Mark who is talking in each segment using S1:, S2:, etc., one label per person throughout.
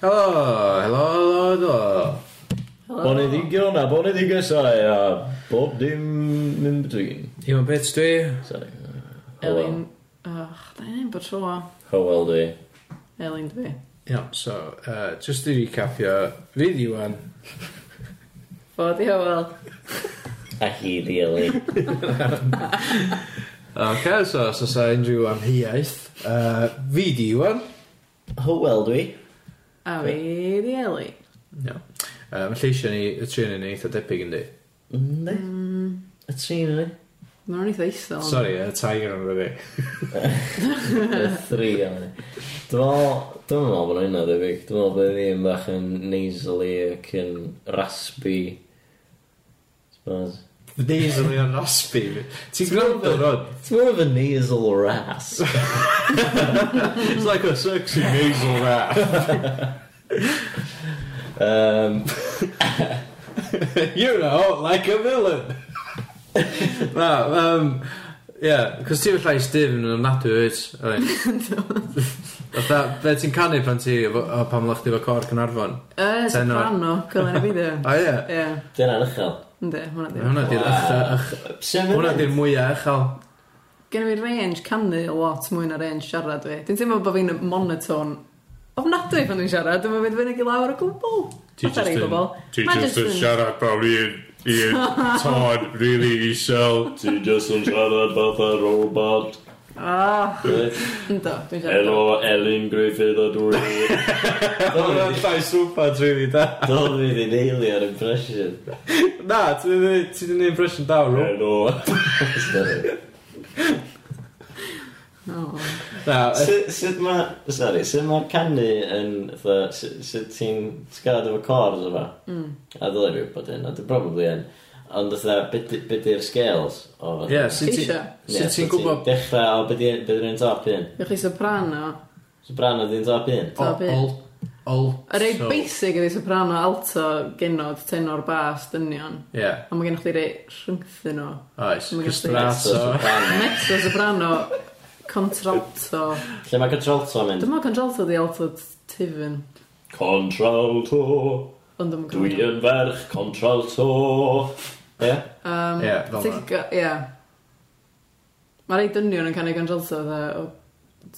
S1: Helo, helo, helo, helo.
S2: Boneddigion a boneddigesau a bob dim yn between.
S1: Human Pits dwi.
S2: Sorry.
S3: Elin... Och, da ni'n bod tro.
S2: Howell di.
S3: Elin dwi.
S1: Iawn, so, uh, just i recapio, fi di wan.
S3: Fo di hywel.
S2: A hi di Elin.
S1: Ok, so, os oes unrhyw am hiaeth, uh, fi di wan.
S2: Howell dwi.
S3: A fi di Eli.
S1: Iawn. Uh, Mae lleisio ni, y trin yn eitha debyg yn di.
S2: Ynddi? Y trin yna.
S3: Mae'n eitha isel.
S1: Sorry, y tiger yn rydw i.
S2: Y thri yna. Dwi'n meddwl, dwi'n meddwl bod hynna debyg. Dwi'n meddwl bod fi'n bach yn nasally ac yn raspy. Suppose.
S1: Nes yn rhan raspi. Ti'n gwrando rod?
S2: It's more of a nasal rasp.
S1: It's like a sexy nasal rap.
S2: Um,
S1: you know, like a villain. Na, um, yeah, cos ti'n llais dim yn ofnadwy wyt. Fytha, e? be ti'n canu pan ti, efo- o, pan lach ti fo cor Cynarfon?
S3: Y
S1: Tenor.
S3: soprano, cylen y fideo.
S1: O ie,
S3: Ie,
S2: Dyna'n uchel.
S3: ynddi, hwnna di.
S1: hwnna di'r ucha- uch- hwnna di'r mwyaf uchel.
S3: Gen i fi range canu a lot mwy na range siarad fi. Dwi'n teimlo bod fi'n monoton ofnadwy pan dwi'n siarad, dwi'n mynd fyny i lawr o gwbl.
S4: Ti
S3: Fatha
S4: jyst
S3: rei
S4: yn...
S3: pobol.
S4: Ti
S3: Ma'
S4: jyst yn siarad probably i'n... I'n tod really isel. Ti jyst yn siarad fath a robot.
S3: Ah,
S4: Reit.
S3: ynddo, dwi'n siarad.
S4: Helo, Elin Griffith a dwi.
S1: Hwnna'n
S2: Dwi'n
S1: llais rhywbeth rili da.
S2: mynd i neili ar impression.
S1: Na, ti 'di- ti 'di neud impression da o rŵ.
S4: Helo.
S3: O.
S1: Na, y-
S2: Sut sut ma... Sorry, sut ma canu yn... fatha, Sut sut ti'n sgad efo chords yma? Mm. A ddylai fi bod hyn, a dwi probably yn. Ond fatha, be di- be di'r scales? O, fatha-
S1: ie, sut ti-
S3: Isha.
S2: Ie,
S1: sut
S2: so
S1: ti'n gwybod...
S2: Dechrau o be di- be di'r un top un?
S3: Ydych chi soprano?
S2: Soprano di'n top un?
S3: Ta byd.
S1: Ol, ol,
S3: Y rei
S1: so-
S3: basic ydi soprano, alto, genod, tenor, bas, dynion.
S1: Ie,
S3: A mae gennych chi rei rhyngthyn o.
S1: oes,
S3: Ma' gen chdi-
S1: Castrato.
S2: soprano.
S3: Mezzo, soprano, contralto.
S2: Lle mae contralto yn mynd?
S3: Dyma contralto di alto tifyn.
S4: Contralto.
S3: Ond dyma
S4: Dwi yn ferch contralto.
S2: Ie?
S3: Um,
S1: Ie, fel
S3: ti'n go- Ie. Mae rei dynion yn canu contralto dda o...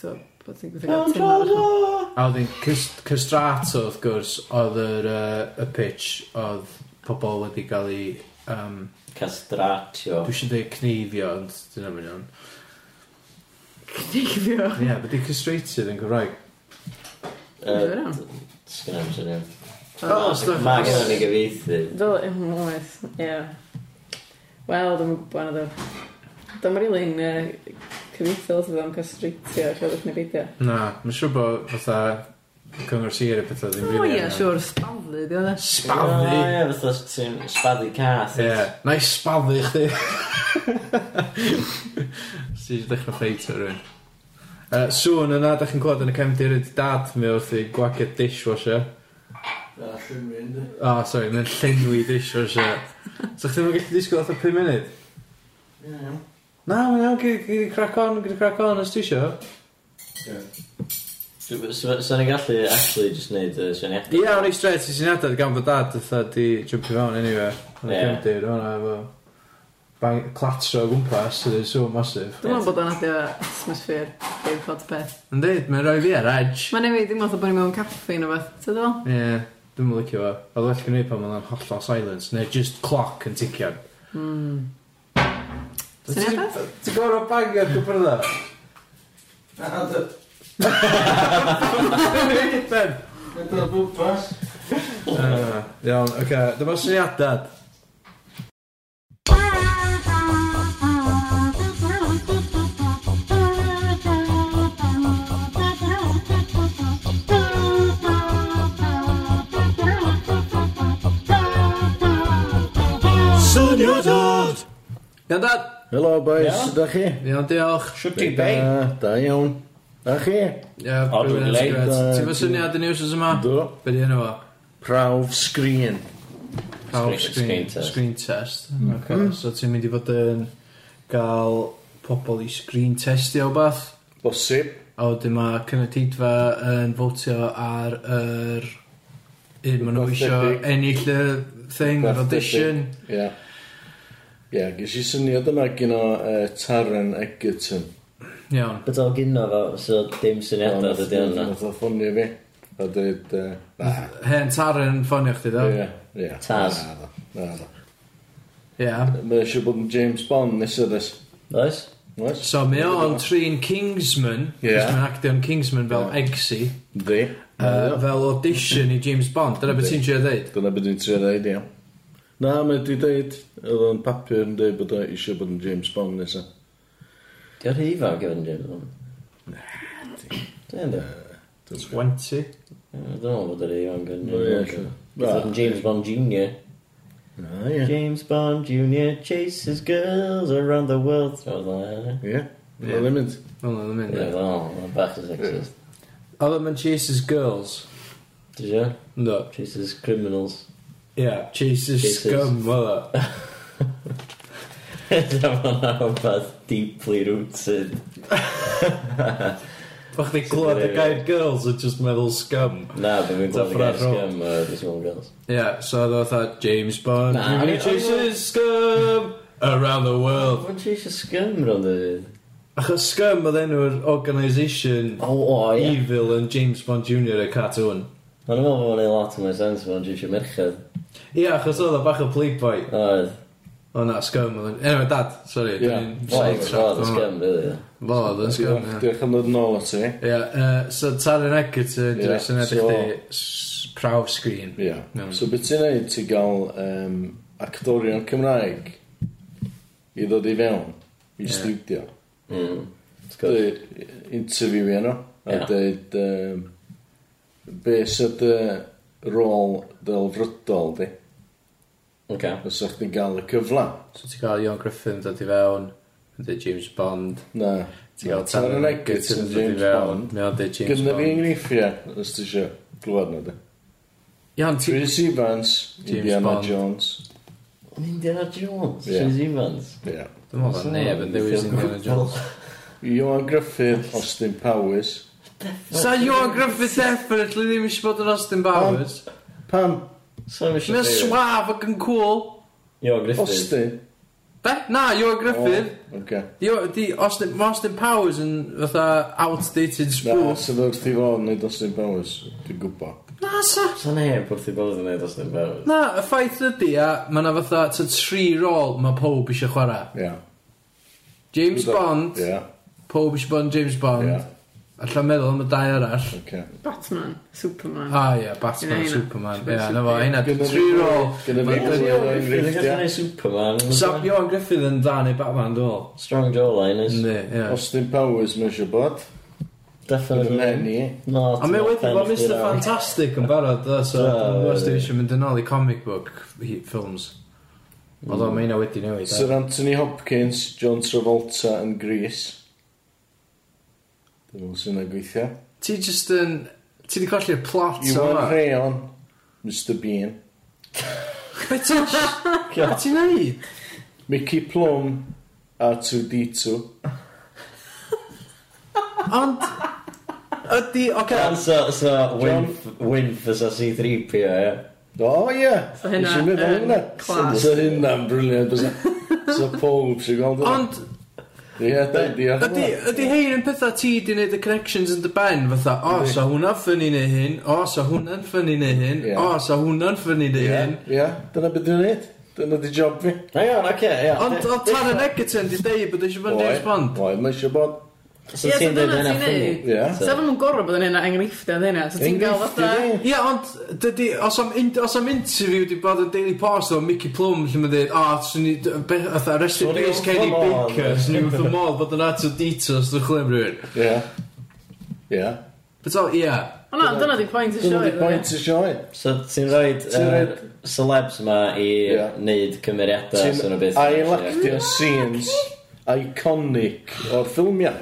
S3: So, bod ti'n gwybod gael tenor.
S1: A wedyn cys- Castrato wrth gwrs oedd yr uh, y pitch oedd pobol wedi cael ei um,
S2: Castratio.
S1: dwi eisiau dweud cneifio ond dyna mynd iawn.
S3: Cnigfio.
S1: Ie, yeah, byddi castrated yn Cymraeg.
S3: Dwi'n iawn.
S2: Sgynna am syniad.
S1: Oh, stuff.
S2: Mae gen i gyfeithi.
S3: Fel yw'n oes, ie. Wel, dwi'n gwybod na dwi. Dwi'n rili yn uh, cyfeithio os ydw am castreitio a siarad neu beidio.
S1: Na, mae'n siŵr bod fatha cyngor sir y pethau ddim
S3: O
S1: rili
S3: ie, siwr, spadlu, di oedd e.
S1: Spaddu!
S2: Ie, ie, fatha ti'n spaddu cath.
S1: Ie, na i spaddu chdi. Si eisiau dechrau ffeit o rhywun. Uh, sŵn yna, da chi'n clywed yn y cefndir ydy dad mi wrth i gwagio dishwasher.
S5: Na, llynwi, ynddi?
S1: O, oh, sorry, mae'n llenwi dishwasher. So chdi mae'n gallu disgwyl atho 5 munud?
S5: Ie, iawn.
S1: Na, mae'n iawn, gyda gyda crack on, gyda crack on, os ti isio.
S5: Ie.
S2: Sa'n ni'n gallu actually just neud y syniadau.
S1: Ie, o'n i straight i syniadau gan bod dad ytho di jumpio fewn anyway. Yn y
S2: Ie.
S1: cefndir, hwnna efo bang, clatro o gwmpas, sydd wedi sŵn masif.
S3: Dwi'n meddwl bod o'n adio atmosffer, gei bod peth.
S1: Yn dweud, mae'n rhoi fi ar edge.
S3: Mae'n newid, dwi'n meddwl bod ni'n mewn caffi neu beth, ti'n ddol?
S1: Ie, yeah, dwi'n mynd licio fo. Oedd well gwneud pan mae'n hollol silence, neu just clock yn tician.
S3: Syniadau?
S1: Hmm. Ti'n gorfod bangio'r gwybrdda?
S5: Na, dy-
S1: Ben!
S5: na dy bwpas.
S1: Iawn, oce, dyma syniadad.
S6: Syniadad!
S1: Iawn dad!
S6: Helo boys,
S2: Iawn.
S6: sut ydych chi?
S1: Iawn diolch.
S2: Shwti
S6: Da, da iawn. Da chi?
S1: Ie,
S2: O, dwi'n
S1: brilliant,
S2: glad.
S1: great. Ti'n fo syniad yn iwsys yma?
S6: Do.
S1: Be di enw fo?
S6: Prawf sgrin.
S1: Power
S2: Screen-
S1: screen,
S2: screen test.
S1: screen test.
S6: Hmm.
S1: Oce, so ti'n mynd i fod yn gael pobl i screen testio o beth?
S6: Bosib.
S1: A a wedyn mae Cynadidfa yn fotio ar yr... Un maen nhw
S6: Rwbath
S1: isio
S6: debyg.
S1: ennill y thing, yr
S6: Rwbath
S1: audition.
S6: Ie. Ie, ges i syniad yna gyn o uh, Taron Egerton.
S1: Iawn.
S2: Beth o'n gynno fo, so dim syniadau dydy hynna.
S6: Nath o ffonio fi. A dweud... yy, Na,
S1: Hen Taran ffonio chdi ddo.
S6: ie, ie.
S2: Tas.
S6: Na, na, na, na.
S1: Ie.
S6: Mae eisiau bod yn James Bond nes ydys.
S2: Oes?
S6: Oes?
S1: So mae o'n trin Kingsman,
S6: Ie.
S1: yeah. mae'n actio'n Kingsman fel
S6: Ie.
S1: Eggsy,
S6: Di.
S1: uh, fel audition i James Bond. Dyna beth
S6: Yndi.
S1: ti'n siarad ddeud?
S6: Dyna beth dwi'n trio ddeud, iawn. Na, mae di deud, oedd o'n papur yn deud bod o eisiau bod yn James Bond nesaf.
S2: Diolch i ifanc efo'n James Bond. Dwi'n dweud.
S1: 20.
S2: Dwi'n meddwl bod yr ifanc yn
S6: O, ie,
S2: James Bond.
S6: ella.
S2: Beth o'n James Bond Jr.
S6: Na, ie.
S2: James Bond Jr. chases girls around the world. Dwi'n meddwl,
S1: Ie.
S6: Ie. Wel, mynd.
S1: Wel, oedd yn
S2: ie.
S1: mynd.
S2: Dwi'n meddwl, bach yn sexist.
S1: Oedd yn chases girls.
S2: Dwi'n siarad?
S1: Ynddo.
S2: Chases criminals.
S1: Ie, yeah, chases
S2: Chases.
S1: scum, oedd o.
S2: Dwi'n meddwl, beth deeply rooted.
S1: Fach chdi glwad y gair girls yn just meddwl scum.
S2: Na, dwi'n mynd gweld y
S1: Dyffryn
S2: gair
S1: Road.
S2: scam o Dismal Girls.
S1: Ie, yeah, so oedd oedd James Bond,
S2: Na,
S1: nah,
S2: o'n i-
S1: chases scum around the world.
S2: Mae'n tri eisiau scam rhwng y...
S1: Achos scum oedd enw'r organisation
S2: O, o, ie.
S1: evil yn James Bond Jr. y cartoon.
S2: Mae'n meddwl bod mae'n ei lot o mwy sens, mae'n tri eisiau merched.
S1: Ie, yeah, achos oedd o bach o playboy.
S2: Oedd.
S1: O na, scum oedd yn... Anyway, dad, sori.
S6: Ie.
S2: Oedd, oedd y scam, rili.
S1: Fo oedd yn scum,
S6: Diolch
S1: ie.
S6: diolch am ddod yn ôl at ti.
S1: Ie, yy, so Taron Egerton,
S6: Ie,
S1: dwi'n syniad i
S6: so-
S1: chdi s- prawf sgrin.
S6: Ie.
S1: Iawn.
S6: So beth ti'n neud ti gael um, actorion Cymraeg i ddod i fewn i
S1: Ie.
S6: studio.
S2: Mm. Of course.
S6: Dweud interview i nhw a
S2: Ie.
S6: dweud um, be sydd dy rôl dylfrydol di
S2: Oce.
S6: os ydych chi'n gael y cyfla.
S1: So ti'n cael Ion Griffin dod i fewn, yn dweud James Bond.
S6: Na.
S1: Ti'n cael
S6: Na,
S1: Taron
S6: Taron
S1: Egerton
S6: Egerton,
S1: dod i
S6: James
S1: fewn,
S6: Bond.
S1: mae o'n dweud James
S6: Gynna fi
S1: Bond.
S6: enghreiffio os ti eisiau glwad nhw di.
S1: Iawn, ti...
S6: Chris Evans,
S1: James
S6: Indiana
S1: Bond.
S6: Jones.
S2: Indiana Jones,
S6: Ie.
S2: Chris Evans.
S6: Ie.
S1: Dwi'n meddwl bod neb yn dewis Indiana Jones.
S6: Iwan Griffith, Austin Powers.
S1: Sa Ion Griffith definitely ddim eisiau bod yn Austin Powers.
S6: Pam?
S2: So mi
S1: Mae'n
S2: eisiau...
S1: swaf ac yn cool.
S2: Yo, Griffith.
S6: Austin?
S1: Be? Na, Ion Griffith.
S6: Oh, okay.
S1: Yo, di, Austin, ma' Austin Powers yn fatha outdated
S6: Na,
S1: spoof.
S6: sydd wrth i fod yn neud Austin Powers, dwi'n gwybod.
S1: Na, sa.
S2: Sa neb wrth i bod yn neud os ddim fawr.
S1: Na, y ffaith ydy, a mae na fatha ta tri rôl mae pob eisiau chwarae.
S6: Ie.
S1: James Bond,
S6: Ie,
S1: pob eisiau bod yn James
S6: ie,
S1: Bond, a lla'n meddwl am y dau arall.
S6: oce.
S3: Batman, Superman.
S1: A ie, Batman,
S3: Hynna, hynna.
S1: Superman, ie, na fo, hynna,
S6: Gynna
S1: tri
S6: fi-
S1: rôl.
S6: Gynna fi
S1: Mae'n
S6: gwybod
S1: dod-
S6: o'r
S2: Griffith yn
S6: enghreifftiau.
S2: neud Superman.
S1: Sa
S2: fatha.
S1: Ion Griffith yn dan i Batman, dwi'n meddwl.
S2: Strong jawline is.
S1: Yndi, ie.
S6: Austin Powers, mae'n siw bod. Yn
S2: Definitely.
S6: hen i.
S2: No,
S1: A mae
S2: ti'n
S1: wedi bod
S2: pen chdi
S1: Mr
S2: nawr.
S1: Fantastic yn barod, dda, so
S2: Do,
S1: dwi'n meddwl
S2: ie.
S1: eisiau mynd yn ôl i comic book hi- films. Oedd o,
S6: Mm.
S1: mae hynna wedi newid. a-
S6: Sir Anthony Hopkins, John Travolta yn Gris. Dwi'n meddwl sy'n gweithio.
S1: Ti just yn... Ti di colli'r plot
S6: Iwan
S1: yma.
S6: Rheon, Mr Bean.
S1: Be ti'n... Be ti'n neud?
S6: Mickey Plum, R2-D2.
S1: Ond... Ydi, oce...
S2: Gan so, so,
S6: John-
S2: Winf, Winf as a C3PO, ie.
S6: O, ie.
S3: So hynna
S6: Nes i meddwl
S3: yn
S6: hwnna.
S3: class.
S6: So e hynna'n briliant. bysa. So pob sy'n gweld hwnna.
S1: Ond,
S6: Ie, di- diolch yn
S1: ydi,
S6: fawr.
S1: ydy hein yn pethau ti di wneud y connections yn dy ben, fatha, o, oh, sa hwnna'n ffynnu neu hyn, o, oh, sa hwnna'n ffynnu neu hyn,
S6: Ie.
S1: o, oh, sa hwnna'n ffynnu neu
S6: Ie,
S1: hyn.
S6: Ie, dyna beth dwi'n neud. Dyna di job fi.
S2: Hang on, oce, ie.
S1: Ond, o, Taron Egerton di deud bod eisiau bod yn James Bond.
S6: Oed, mae eisiau bod.
S2: So
S3: Ie, so
S2: ti'n dweud
S3: dyna
S2: yna
S3: ti'n neud.
S2: ffynnu?
S6: Ie.
S2: So-
S3: Sa fo nhw'n gorau bod yn hynna enghreifftiau yn hynna, so ti'n gael fatha...
S1: Ie, ond, dydy, os am, in- os am interview di bod yn Daily Post o Mickey Plum, lle mae'n dweud, o, oh, swn i, fatha, rest in
S2: Swn i
S1: peace
S2: wrth
S1: Kenny
S2: fy modd."
S1: Baker, swn i wrth y modd bod yn ato details dwi'n chlyfr rhywun.
S6: Ie. Ie.
S1: But o, ie.
S3: O na, dyna di pwynt y
S6: Dyna
S3: sioe.
S6: di pwynt y sioe.
S2: So ti'n rhaid
S6: Ti'n roid-
S2: celebs ma i
S6: Ie.
S2: wneud cymeriadau sy'n o
S6: Ti'n
S2: beth.
S6: ailectio scenes iconic o'r ffilmiau.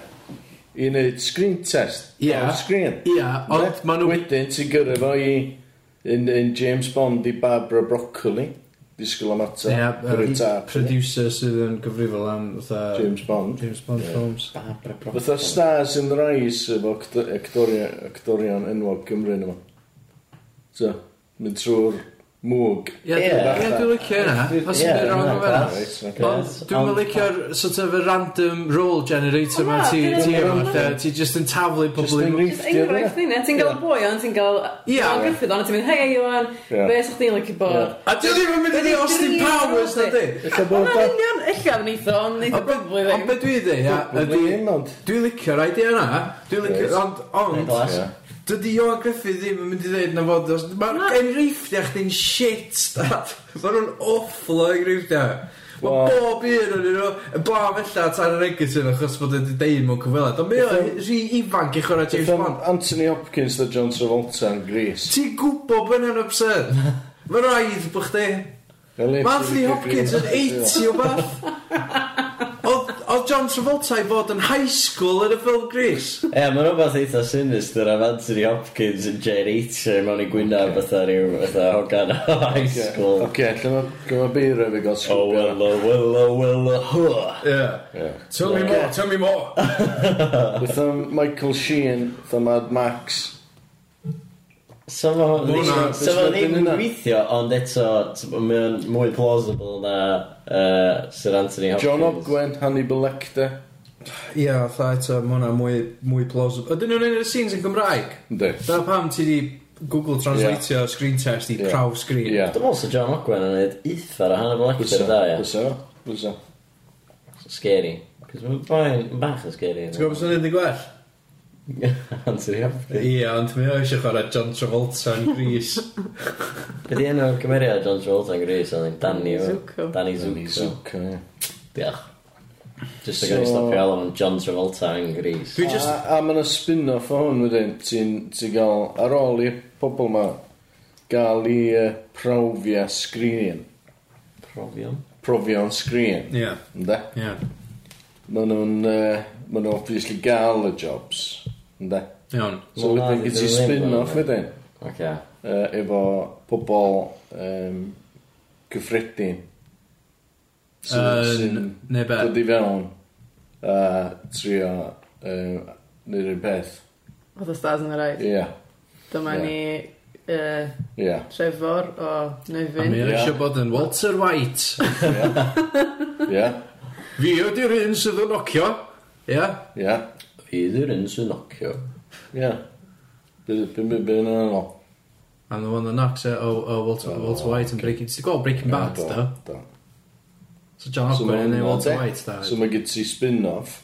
S6: I wneud screen test.
S1: Ie.
S6: O'r screen.
S1: Ie, ond maen nhw...
S6: Wedyn ti'n gyrru fo i... In, in James Bond i Barbara Broccoli. Disgwyl am atab.
S1: Ia,
S6: Gyrru
S1: yy,
S6: tap.
S1: producer sydd yn gyfrifol am fatha
S6: James Bond.
S1: James Bond
S6: Ie.
S1: films.
S3: Barbara
S6: Fytha
S3: Broccoli.
S6: Stars in the Rise efo acto- actorion actorion enwog Cymru yma. So, mynd trwy'r mwg.
S1: Ie,
S2: Ie.
S1: dwi- ie, dwi'n licio yna.
S2: Ie,
S1: Os ydw i'n wrong
S2: hwnna'n
S1: o fe
S2: class.
S6: Reit, ocê.
S1: Ond dwi'n mynd licio'r sort of a random role generator ma
S3: Wel,
S1: ti
S3: dyna
S1: ti
S6: dwi'n
S1: efo
S6: meddwl.
S1: lle ti just yn taflu
S6: Just
S1: pobl i
S3: Jyst enghraifft
S6: enghraifft.
S3: ni, ne? Ti'n gael boi ond ti'n gael...
S1: Ie.
S3: Iwan Griffith ond ti'n mynd, hei Iwan,
S6: Ie.
S3: be sa'ch ti'n licio bod?
S1: A dwi ddim yn mynd i
S3: Wedi
S1: Austin
S3: grio
S1: Powers na
S3: nhw.
S1: di
S6: Ella bod
S3: Hwna'n
S6: o...
S3: union, illa yn eitho, ond eitho
S1: Ond be-
S3: probably
S1: Ond
S3: ddim.
S1: be dwi dde, ia
S6: Ydy hyn, ond...
S1: Dwi'n licio'r idea yna Dwi'n
S6: Reit.
S1: licio, ond Ond
S2: Class.
S1: Dydy Iwan Griffith ddim yn mynd i ddeud na fod os... Mae'r
S3: Na.
S1: enghreifftiau chdi'n shit, dad. Mae nhw'n awful o enghreifftiau. Mae
S6: Wel-
S1: bob un o'n nhw yn blaf ella tan yr egysyn achos bod wedi deud mewn cyfweled. Ond mae o'n
S6: Ydyn-
S1: rhy ifanc i chwarae James
S6: Ydyn
S1: Bond.
S6: Anthony Hopkins a John Travolta yn Greece.
S1: Ti'n gwybod bod hynna'n absurd? Mae rhaid bod chdi.
S6: Mae
S1: Mae Anthony Hopkins yn 80 o beth. Oedd oedd John Travolta i fod yn high school yn y ffilm Gris.
S2: Ie, mae'n rhywbeth eitha sinister am Anthony Hopkins yn generator mewn i gwynaf fatha rhyw fatha hogan o high school.
S6: Ok, lle mae gyma beir efo gael
S2: Oh,
S6: sgwbio.
S2: well, oh, well, oh, well, oh, huh.
S1: Yeah. Tell me more, tell me more.
S6: Fytha Michael Sheen, fytha Mad Max.
S2: So ma' hwn-
S1: Hwnna,
S2: so ma' hwn
S6: jyst
S2: ddim yn
S6: hwnna.
S2: gweithio, ond eto, t- mae'n mwy plausible na uh, Sir Anthony Hopkins.
S6: John Ogwen, Hannibal Lecter.
S1: Ia, fatha eto, mae hwnna mwy, mwy plausible. Ydyn nhw'n un o'r scenes yn Gymraeg?
S6: Ynddi.
S1: Da pam ti di Google Translateio yeah. screen test i
S6: Ie.
S1: yeah. prawf screen.
S6: Ie.
S2: Dwi'n meddwl sy'n John Ogwen yn gwneud eitha ar Hannibal Lecter da, ia.
S6: Fysa. Fysa.
S2: Scary. Cos mae'n boi'n bach yn scary.
S1: Ti'n gwybod sy'n edrych gwell?
S2: Anthony
S1: Ie,
S2: Hopkins.
S1: ond mi oes eich chwarae John Travolta yn Gris.
S2: Be di enw'r cymeriad John Travolta yn Greece? Oedd hi'n Danny yw e?
S3: Zuko.
S2: Danny Zuko.
S6: Zuko, ie.
S2: Diolch. Just so,
S6: So-
S2: gael i stopio alw yn John Travolta yn Greece.
S1: Dwi just...
S6: Uh, A, a mae'n spin-off o hwn wedyn, ti'n ti gael, ar ôl i pobl ma, gael i uh, prawfia sgrin,
S2: Profion.
S6: profion sgrin,
S1: Ie,
S6: ynda?
S1: ie.
S6: Maen nhw'n, uh, maen nhw obviously gael y jobs, ynda?
S1: Iawn.
S6: So
S2: Wel, na,
S6: wedyn
S2: dydyn
S6: gyd i
S2: nhw ddim,
S6: spin-off
S2: wel,
S6: wedyn,
S2: Ok.
S6: uh, efo pobl um, cyffredin.
S1: Yn... Ne be?
S6: dod i fewn a trio um, neu'r un peth.
S3: Oedd y stars yn yr
S6: Ie,
S3: oed.
S6: yeah,
S3: Dyma
S6: Ie.
S3: ni yy,
S6: ie. Yeah.
S3: Trefor o
S1: A mi
S3: Nefyn.
S1: oes
S6: Ie.
S1: eisiau bod yn Walter White.
S6: Ie, yeah,
S1: Fi ydy'r un sydd yn nocio. Ie?
S6: ie. Yeah.
S2: Fi ddwy'r un sy'n nocio.
S6: Ie. Byn byn byn yn anol.
S1: And the one that knocks out oh, oh, Walter, Walter White and Breaking... Ti'n gweld Breaking Bad, da? So John
S6: So
S1: Ogwen yn
S6: mae'n
S1: ei Walter
S6: anodd,
S1: White, da?
S6: So mae gyd ti spin-off.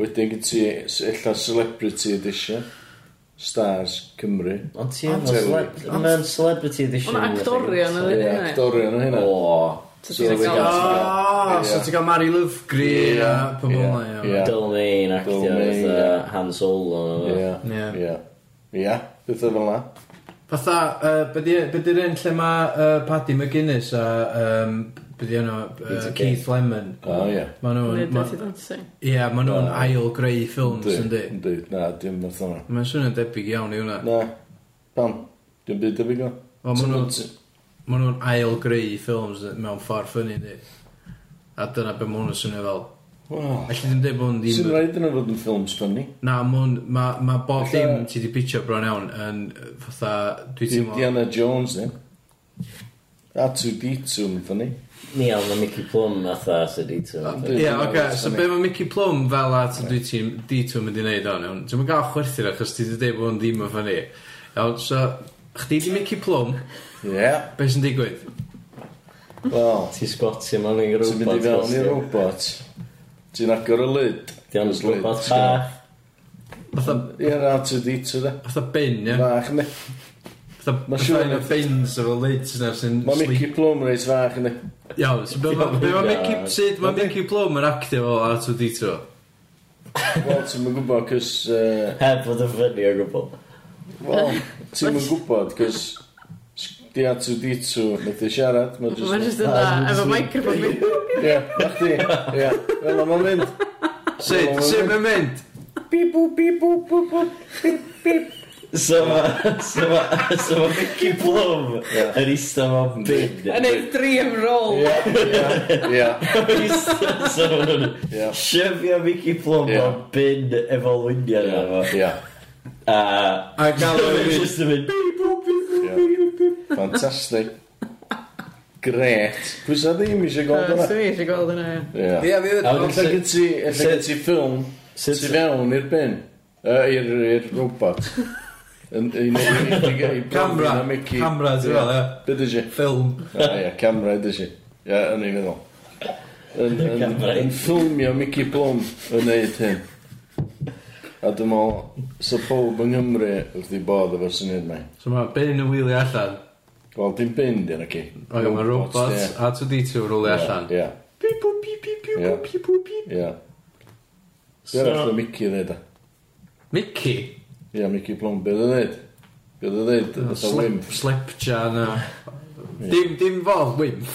S6: Wedyn gyd ti illa celebrity edition. Stars Cymru.
S2: Ond ti
S6: Ond-
S2: efo celeb-
S6: Ond-
S2: Mae'n celebrity edition.
S3: Ond
S2: I
S3: actorion oedd
S2: think.
S6: Ie,
S3: hynna.
S6: actorion o hynna.
S2: O.
S3: So
S6: So
S3: ti'n
S6: we
S3: gael...
S6: got-
S2: uh,
S1: Ah,
S6: Ie.
S1: so ti'n cael Mary Lovegree a
S6: Ie.
S1: pobl
S6: Ie.
S1: yna, iawn.
S6: Ie.
S2: Dolmain actio
S6: Dolmain,
S2: fatha Han Solo.
S6: Ie.
S1: Ie.
S6: Ie. Ie. Beth fel na.
S1: Fatha, uh, be di'r un lle mae uh, Paddy McGuinness a um, be di enw, uh,
S2: Peter
S1: Keith Lemon.
S6: O, ie.
S1: Ma nhw'n...
S3: Neu
S1: ma-
S3: Dirty Dancing.
S1: Ie, ma nhw'n
S6: Na.
S1: ail greu ffilms, yndi.
S6: Yndi, Yndi. Na, dim beth hwnna.
S1: Mae'n swnio'n debyg iawn i hwnna.
S6: Na. Pam? Dim byd debyg o?
S1: Wel, ma' nhw'n ma nhw'n ail greu ffilms mewn ffordd ffynnu, yndi. A dyna be ma hwn yn swnio fel.
S6: Wel.
S1: Felly ddim dweud bod hwn
S6: Sy'n
S1: ddim...
S6: rhaid yna fod yn ffilms ffynnu?
S1: Na, ma hwn- ma- ma bob
S6: Ella-
S1: dim ti di pitio bron iawn yn yy, fatha... Dwi ti'n
S6: Indiana Jones, ddim. R2-D2 yn ffynnu.
S2: Ni iawn, mae Mickey Plum fatha sydd i tu.
S6: Ond-
S1: Ie, yeah,
S6: Dwi'n meddwl
S1: oce, so
S6: fysa
S1: be
S6: ni.
S1: mae Mickey Plum fel at dwi ti'n di ti'n mynd i wneud o'n iawn. Dwi'n mynd gael chwerthu'r achos ti wedi dweud bod o'n ddim yn ffynnu. Iawn, so, chdi di Mickey Plum,
S6: Ie.
S1: be sy'n digwydd?
S6: Wel.
S2: Ti sgwatio mewn i'r
S6: Ti'n mynd i
S2: robot.
S6: fewn
S2: gostio.
S6: i'r robot. Ti'n agor y lid.
S2: Di ond
S6: Slid,
S2: robot
S6: sgynna.
S2: bach.
S1: Fatha,
S6: Ie, R2-D2 da.
S1: fatha bin, ie?
S6: Fach yna.
S1: Fatha,
S6: Ma'
S1: fatha
S6: siŵr-
S1: un o bins efo lids na sy'n
S6: Mae
S1: sleep.
S6: Mickey Plum reit fach yna.
S1: Iawn, so be mae
S2: Ie,
S1: Mickey,
S2: ie.
S1: sut mae Mickey Plum yn actio fel at dwi ti'n
S6: Wel, ti'n mynd gwybod, cys... yy,
S2: Heb fod yn ffynnu o gwbl.
S6: Wel, ti'n mynd gwybod, cys... Di R2-D2 methu siarad. Mae
S3: Mae'n
S6: jyst...
S3: just yna, efo microphone fi.
S6: Ie, na chdi. Ie, fel yma mynd.
S1: Sut, sut mae'n mynd?
S6: Bip, bwp, bip, bwp, bwp, bwp, bip, bip.
S2: So ma, so ma, so ma Mickey Plum yn eista ma bin.
S3: A neud dream roll.
S6: Ia, ia,
S2: Yn eista, so ma nhw'n
S6: Ie.
S2: siefio Mickey Plum
S6: Ie.
S2: ma bin efo lwynion yeah.
S6: ia,
S2: efo.
S6: ia,
S2: A...
S1: A gael o
S2: Mae'n
S1: fi.
S2: just yn mynd...
S6: ia. Fantastic. Gret. Pwy sa ddim eisiau gweld
S3: Yy,
S6: hwnna?
S3: So fi eisiau gweld hynna. ie.
S6: Ia.
S1: Ie, fi
S2: A
S1: wedi...
S2: wedyn
S6: Alla
S2: sut-
S6: gyd ti, alla
S2: sut-
S6: gyd ti ffilm
S2: sut-
S6: tu fewn i'r bin. Yy, I'r i'r robot. Yn- i- i- i- i- i- i-
S1: Camera,
S6: i- Mickey.
S1: camera, ti'n
S6: Ie.
S1: fel, ie.
S6: Be dy si?
S1: Ffilm.
S6: A ia, camera dy si. Ia, yn ei feddwl. Yn- Yn
S2: Camera.
S6: yn ffilmio Mickey Blum yn neud hyn. A dwi'n meddwl, sa pob yng Nghymru wrth i bod efo'r syniad mai.
S1: So mae bin yn wylio allan.
S6: Wel, dim bin dyn nhw ci.
S1: Oce, mae robots
S6: ie.
S1: a 2D2 yn rwlio allan.
S6: Ia,
S1: Pip, pip, pip, pip,
S6: Ie.
S1: pip, pip, pip, pip.
S6: ia. Be
S2: So-
S6: arall o Mickey ddeud e?
S1: Mickey.
S6: Ia, Mickey Blum, be ddeud ddeud? Be ddeud ddeud? Fatha
S1: Slip,
S6: wimp.
S1: slipjar na. Dim, dim fo, wimp.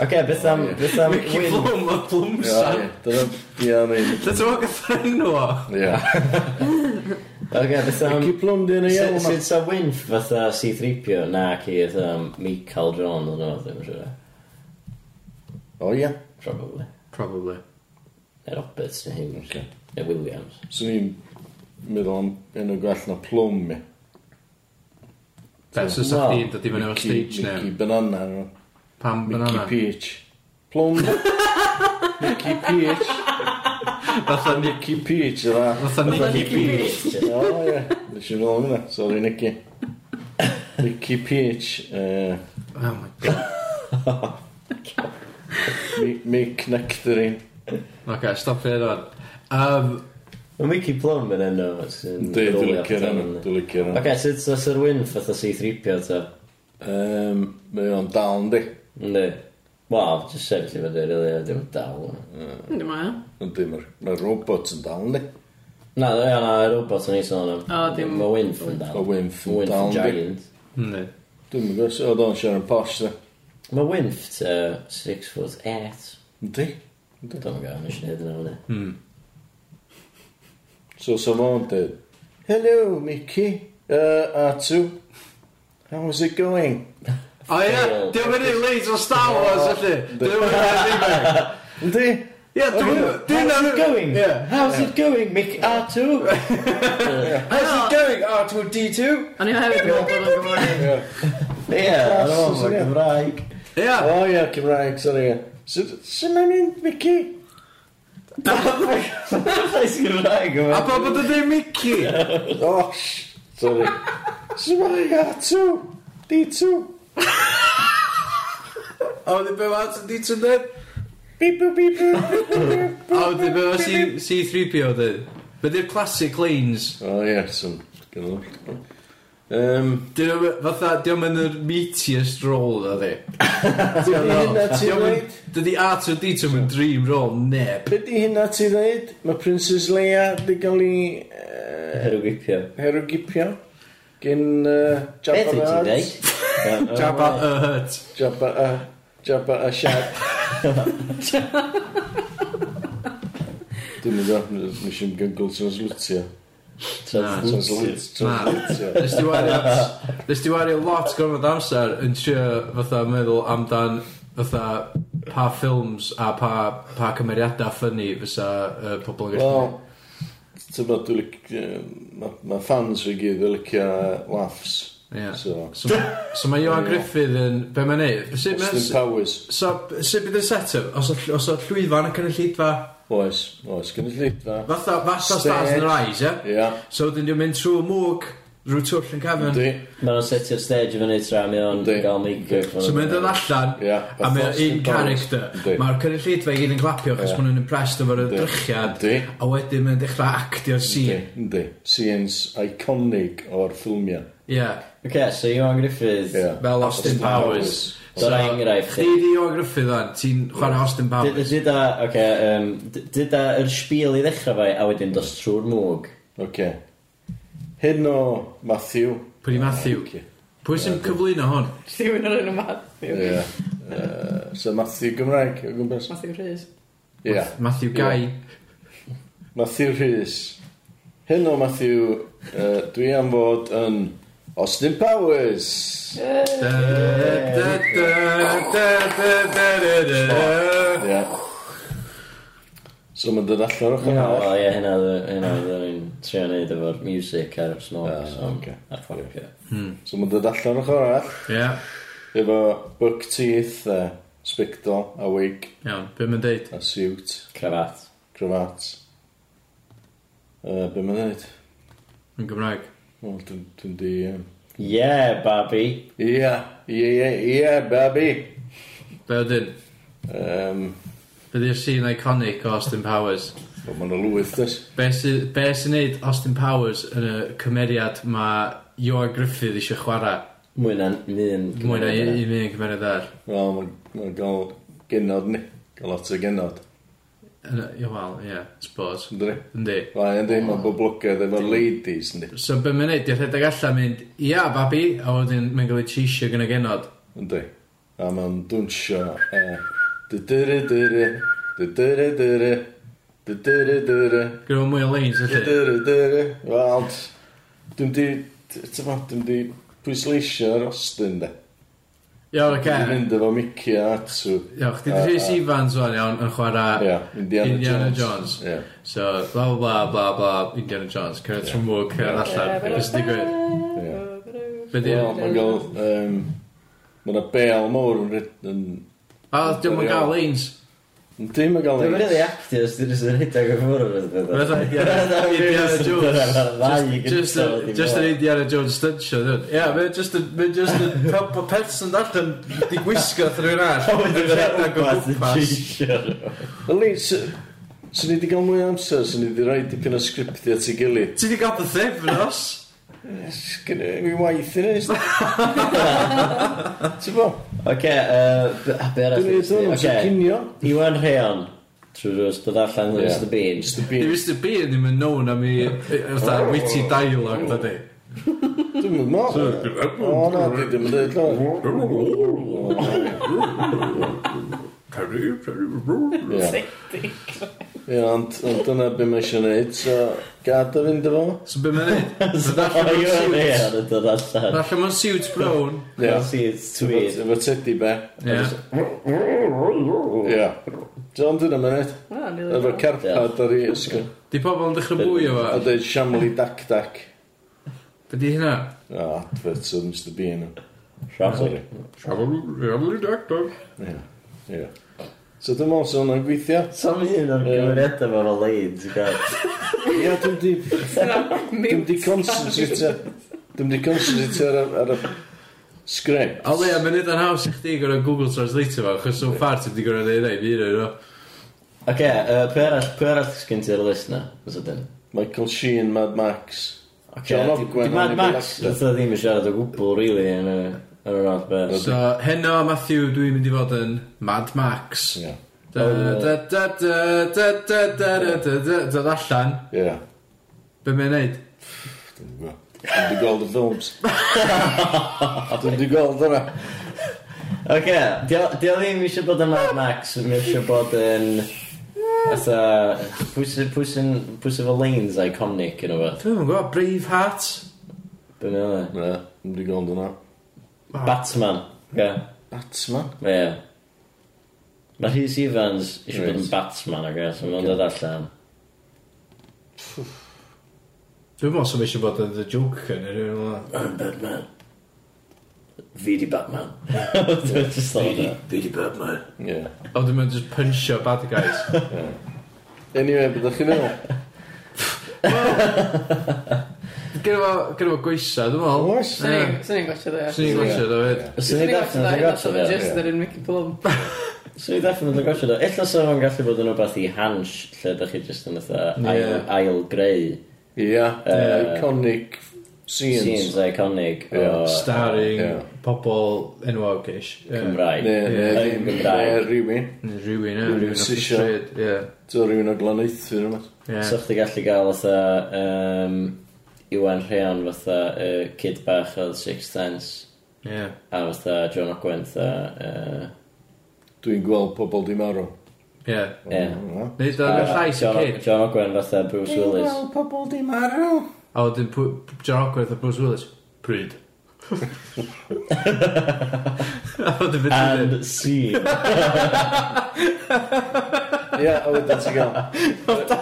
S2: Oce, beth am... Beth am...
S1: Mickey
S2: Wyn?
S1: Plum o
S6: Ia,
S1: Plumsan.
S6: ia. Dyna, ia, neud.
S1: Dy ti'n fawr gyda'r enw o?
S6: Ia.
S2: Oce, beth am...
S6: Mickey Blum dyn nhw
S2: Sut
S6: iawn.
S2: sut sa Wynf fatha C-3PO na ci fatha Michael John o'n o'n ddim yn siŵr.
S6: O ia.
S2: Probably.
S1: Probably.
S2: Neu Roberts neu hyn.
S6: Oce.
S2: Neu Williams.
S6: Swn i'n meddwl am enw gwell na Plum, ia.
S1: Be, so sa
S2: Wel,
S1: chdi'n dod i fyny o'r
S6: Mickey-
S1: stage
S6: Mickey
S1: name?
S6: Banana. nhw.
S1: Pam
S6: Mickey
S1: banana?
S6: Peach. Plum. Mickey Peach.
S1: Fatha ni...
S6: Mickey Peach, yna.
S1: Fatha Nicky P.
S6: O, ie. Nes i'n ôl hwnna. Sorry, Nicky. Mickey Peach. Uh,
S1: Oh my god.
S6: Mick Nectarine.
S1: Oce, stop it on. Um,
S2: Mae Mickey Plum yn enw sy'n...
S6: Dwi,
S2: rowlio
S6: dwi'n licio'r
S2: pethau
S6: enw.
S2: fyny.
S6: Dwi'n licio'r enw.
S2: Oce, sut sa Sir Wynf fatha C-3PO ta?
S6: Um, Mae o'n dal, ynddi?
S2: Ynddi. Wel, jyst sefyll i fyny, rili, a dim yn dal.
S3: Yndi ma.
S6: Ynddi, mae'r mae robot yn dal, ynddi?
S2: Na, na, na, y robot yn ei sôn am.
S3: O, dim-
S2: Mae Wynf yn dal.
S6: O Wynf yn
S2: Wynf
S6: dal, yndi?
S2: giant.
S1: ne.
S6: Dwi'n mynd gwrs, oedd o'n siarad posh, da.
S2: Mae Wynf ta 6 foot 8.
S6: Ynddi?
S2: Dwi'n gael, nes i neud yna fyny.
S1: Hmm.
S6: So, so fo'n dweud, Hello, Mickey. Uh, R2. How's it going?
S1: O ie, dwi'n mynd i leid o Star Wars, allu. Dwi'n mynd i leid
S6: Ynddi?
S1: Ie, dwi'n
S2: How's it going?
S1: Ie.
S2: How's it going, Mick R2?
S6: How's it going, Oh, R2-D2?
S3: O'n i hefyd yn gweld bod o'n Gymraeg.
S2: Ie, ar ôl
S6: Class,
S2: fy
S6: ie.
S2: Gymraeg.
S1: Ie.
S6: O oh, ia, Cymraeg, sori ia. Sut mae'n mynd, Mickey?
S2: Llais Gymraeg
S1: A
S2: yma.
S1: pa bod o ddim Mickey?
S6: O, sh- sori. Sut mae'n mynd, R2? D2?
S1: A wedi be fawr sy'n dit yn dweud?
S6: Beep, boop, beep, boop, beep, boop, beep.
S1: A wedi Oh, be fawr C3PO dweud? e? Be di'r classic lanes?
S6: O ia, sy'n gynnal. Um,
S1: Dyn nhw, e- fatha, diolch yn yr meatiest role, dda di.
S6: Be di hynna ti ddeud?
S1: Dydi R2D2 yn dream role, neb.
S6: Be di hynna ti ddeud? Mae Princess Leia di gael i uh,
S2: Herw gwipio.
S6: herwgipio gen uh,
S2: Beth
S6: Jabba
S2: wyt ti'n
S6: the
S2: dweud?
S6: Hutt. Oh,
S1: Jabba y hurt.
S6: Jabba a... Jabba a Shad. Dwi'n mynd o, nes i'n gyngol translutio.
S1: Na.
S6: Translutio.
S1: Nes di wario, nes di wario lot gorfod amser yn trio fatha meddwl amdan fatha pa ffilms a pa, pa cymeriadau ffynnu fysa uh, pobl yn gallu.
S6: Wel, ti'n bod, dwi'n licio... Mae ma fans fi gyd yn licio laughs.
S1: Ie.
S6: So,
S1: So, so mae Iwan Griffith yn... Be mae'n neud? Sut
S6: Austin
S1: mae'n...
S6: Powers.
S1: So, sut bydd y set-up? Os o ll- os o llwyfan yn cynulleidfa...
S6: Oes, oes, gynnu llidfa.
S1: Fatha, fatha stars in the rise, ie?
S6: Ia,
S1: So, dyn nhw'n mynd trwy mwg, drwy twll yn cefn.
S6: di.
S2: Mae nhw'n setio'r stage i fyny tra mi o'n
S6: Yndi.
S2: gael make-up.
S1: So mae'n dod allan,
S6: Ie.
S1: a mae'n
S6: Austin
S1: un
S6: Powers.
S1: character.
S6: Yndi.
S1: Mae'r cynulleidfa i gyd yn clapio, chos
S6: Ie.
S1: maen nhw'n impressed efo'r
S6: Yndi.
S1: drychiad,
S6: Yndi.
S1: a wedyn mae'n dechrau actio'r scene.
S6: Yndi. Scenes iconic o'r ffilmiau.
S1: Ie,
S2: Oce, so Iwan Griffith.
S6: Ie.
S1: fel Austin Powers.
S2: So rhaid enghraifft
S1: Chdi
S2: i.
S1: di o Griffith o'n, ti'n chwarae Austin Powers.
S2: Dyda, oce, dyda yr sbiel i ddechrau fai, a wedyn dos trwy'r mwg.
S6: Oce. Hyn o Matthew.
S1: Pwy di Matthew?
S6: Oce.
S1: Pwy sy'n cyflwyno hwn?
S3: Rhywun o'r enw Matthew.
S6: Ie. Yy, So Matthew Gymraeg o gwmpas.
S3: Matthew Rhys.
S6: Ie.
S1: Matthew Guy.
S6: Matthew Rhys. Hyn o Matthew Yy, dwi am fod yn Austin Powers.
S1: Ie.
S6: Ie. So mae'n dod allan o'ch
S2: Wel,
S6: yna.
S2: ie, hynna oedd- hynna oedd o'n i'n trio neud efo'r music a'r snorks.
S6: Ah, ocê.
S2: A'r ffordd, ie.
S6: So mae'n dod allan o'ch arall. Efo buck teeth, uh, spectol, a wig,
S1: Iawn, be mae'n deud?
S6: a suit,
S2: Cravat.
S6: cravat. Uh, be mae'n neud?
S1: Yn Gymraeg.
S6: Wel, dwi'n dwi di... yym,
S2: Yeah, babi.
S6: Ie, ie, ie, ie, babi.
S1: Be ydyn?
S6: Um,
S1: Be di'r scene iconic o Austin Powers?
S6: Wel, mae'n lwyth, dys.
S1: Be sy- be sy'n neud Austin Powers yn y cymeriad mae Ior Griffith eisiau chwarae?
S2: Mwy na un.
S1: Mwy na i- i fi yn cymeriad ar.
S6: Wel, mae'n ma gael genod ni. Gael lot o genod.
S1: Wel, ie, suppose.
S6: Ynddi?
S1: Yndi.
S6: Wel, ynddi, mae'n boblogaidd efo'r ladies, ynddi.
S1: So be mae'n neud, di'r rhedeg allan mynd, ia, babi, a wedyn mae'n cael ei cheisio gyda genod.
S6: Ynddi. A e, mae'n dwnsio... yy, Dy-dy-dy-dy-dy, dy-dy-dy-dy-dy, dy-dy-dy-dy-dy.
S1: Gyda fo mwy o lanes, felly.
S6: Wel, dwi'n di... Tyma, dwi'n di pwysleisio ar Austin, de.
S1: Iawn,
S6: Dwi'n
S1: oce.
S6: mynd efo Mickey a Atsu.
S1: Iawn, chdi di Rhys Ifans o'n iawn yn chwarae
S6: Ia, Indiana,
S1: Indiana Jones.
S6: Jones. Ia.
S1: So, bla bla bla bla bla, Indiana Jones, cyrraedd trwy mwg, cyrraedd allan, beth sy'n digwydd? Be di?
S6: Wel, mae'n gael... Um, Mae'n bel mawr yn... ryd- yn
S1: A, diolch yn gael lanes.
S6: Dim yn gael
S2: Dwi'n
S6: ei...
S2: rili actors, dwi'n rili rhedeg o ffwrdd o'r beth.
S1: Fatha Indiana- Indiana Jones. Just- just a- Just an Indiana Jones stunt show, dwi'n. Ie, mae'n just yn, mae'n just yn help a person allan, di gwisgo thrwy'n ar.
S2: Oh,
S1: Rhedeg o gwmpas.
S6: Yli, swn i wedi cael mwy o amser, swn i wedi rhoi dipyn o sgriptio at ei gilydd.
S1: Ti di gael dy thefnos?
S6: Sgynny, mi waith i nes. Ti'n bo?
S2: Ok, uh, be arall?
S6: Dwi'n ei ddod yn
S2: Ocê,
S6: cynio.
S2: Iwan Rheon. Trwy rwys, dod allan yn
S6: Ie.
S2: Mr Bean.
S6: Just a
S1: Ni
S6: bit.
S1: Mr Bean ddim yn known am i fatha witty dialogue da di.
S6: Dwi'n mynd mor. O, na, dwi ddim yn dweud llawer. Ie, Ie, ond ond dyna be mae eisiau gwneud, so gad o fynd efo.
S1: So be mae'n neud? Mae'n
S2: O,
S1: allan mewn suit.
S2: Iwan Rheon yn dod allan.
S1: Mae'n allan mewn suit brown.
S6: Ie.
S2: Seeds
S6: Efo
S2: tweed.
S6: efo teddy be.
S1: Ie.
S6: Ie. John, dyna mae'n neud. Efo carpad ar ei ysgol.
S1: Di pobl yn dechrau bwyo
S6: A
S1: fo.
S6: dweud siamli dac dac.
S1: Be di hynna?
S6: O, adverts o Mr Bean.
S2: Rhaid.
S6: Ie. Ie. So dwi'n meddwl sy'n hwnna'n gweithio.
S2: Sam un o'r gymeriadau fo'r o leid, ti'n gael.
S6: Ie, dwi'n di... Dwi'n di concentrate... Dwi'n di concentrate ar y- ar y sgrip.
S1: O leia, mae'n neud yn haws i chdi gyda Google Translate fo, chos so far ti wedi gwneud ei wneud fi nhw.
S2: Oce, yy, pe arall, pe arall sgyn ti'r list na? Os ydyn.
S6: Michael Sheen, Mad Max.
S2: Oce,
S6: John
S2: di-
S6: Ogwen,
S2: di Mad
S6: Annie
S2: Max,
S6: Blackstone.
S2: oedd ddim yn siarad o gwbl, really, yn y... Yn yr odd beth.
S1: So, heno, Matthew, dwi'n mynd i fod yn Mad Max.
S6: Ie. Oh.
S1: Da da da da da da da da da da da allan.
S6: Ie.
S1: Be mae'n neud?
S6: Dwi'n di gweld y ffilms. Dwi'n di gweld yna.
S2: Oce, di o di o ddim eisiau bod yn Mad Max, mi eisiau bod yn... Ytha... Pwys efo lanes iconic yn o beth.
S1: Dwi'n gwybod, Braveheart.
S2: Dwi'n meddwl. e?
S6: Na, dwi'n di gweld yna.
S2: Ah.
S1: Wow.
S2: Batman. Oce,
S6: Batman?
S2: ie. Mae Rhys Evans eisiau bod yn
S6: Reit.
S2: Batman, oce, so mae'n dod allan.
S1: Dwi'n meddwl sy'n eisiau bod yn The Joker neu rhywun fel 'na.
S2: I'm Batman. Fi di Batman. Just like that. Fi di Batman.
S6: Ie.
S1: A wedyn mae'n just punchio bad guys.
S6: Anyway, byddwch chi'n meddwl?
S1: Gyda fo- gyda fo gweisa, dwi'n meddwl.
S6: Oes.
S3: Swn i'n gwachio dde.
S1: Swn i'n gwachio ddo fyd.
S2: Swn i definitely yn gosod o.
S6: ie.
S3: Just yr un Mickey Plum.
S2: Swn i definitely yn gosod o. Ella sef o'n gallu bod yn rhywbeth i hans, lle ydych chi just yn ytho ail,
S1: Ie.
S2: ail greu.
S6: Ie.
S2: Yy,
S6: Iconic scenes.
S2: Scenes iconic o
S6: Ie. Ie.
S1: Starring pobl enwog-ish. Ie.
S2: Cymraeg.
S6: Ne, ne,
S1: Ie.
S6: ddim. Ne,
S2: Gymraeg.
S6: rhywun.
S1: Neu Rhywun, ie.
S6: Rhywun
S1: Rhywun off the
S6: sisio.
S1: street. Ie.
S6: So rhywun o glanaethu yma.
S1: Ie.
S2: So chdi gallu gael ytho um, Iwan Rheon fatha uh, kid bach oedd Sixth Sense
S1: Ie.
S2: a fatha John Ogwen fatha
S6: Dwi'n gweld pobl di marw.
S1: Ie.
S2: uh, yeah.
S6: Ie.
S1: Neud o'n gael llais y
S2: John,
S1: kid.
S2: John Ogwen fatha Bruce Willis.
S6: pobl di marw.
S1: A wedyn pw- John Ogwerth a Bruce Willis. Pryd. a wedyn fynd i
S2: And scene.
S6: Ia, a wedyn ti'n gael
S1: Oh,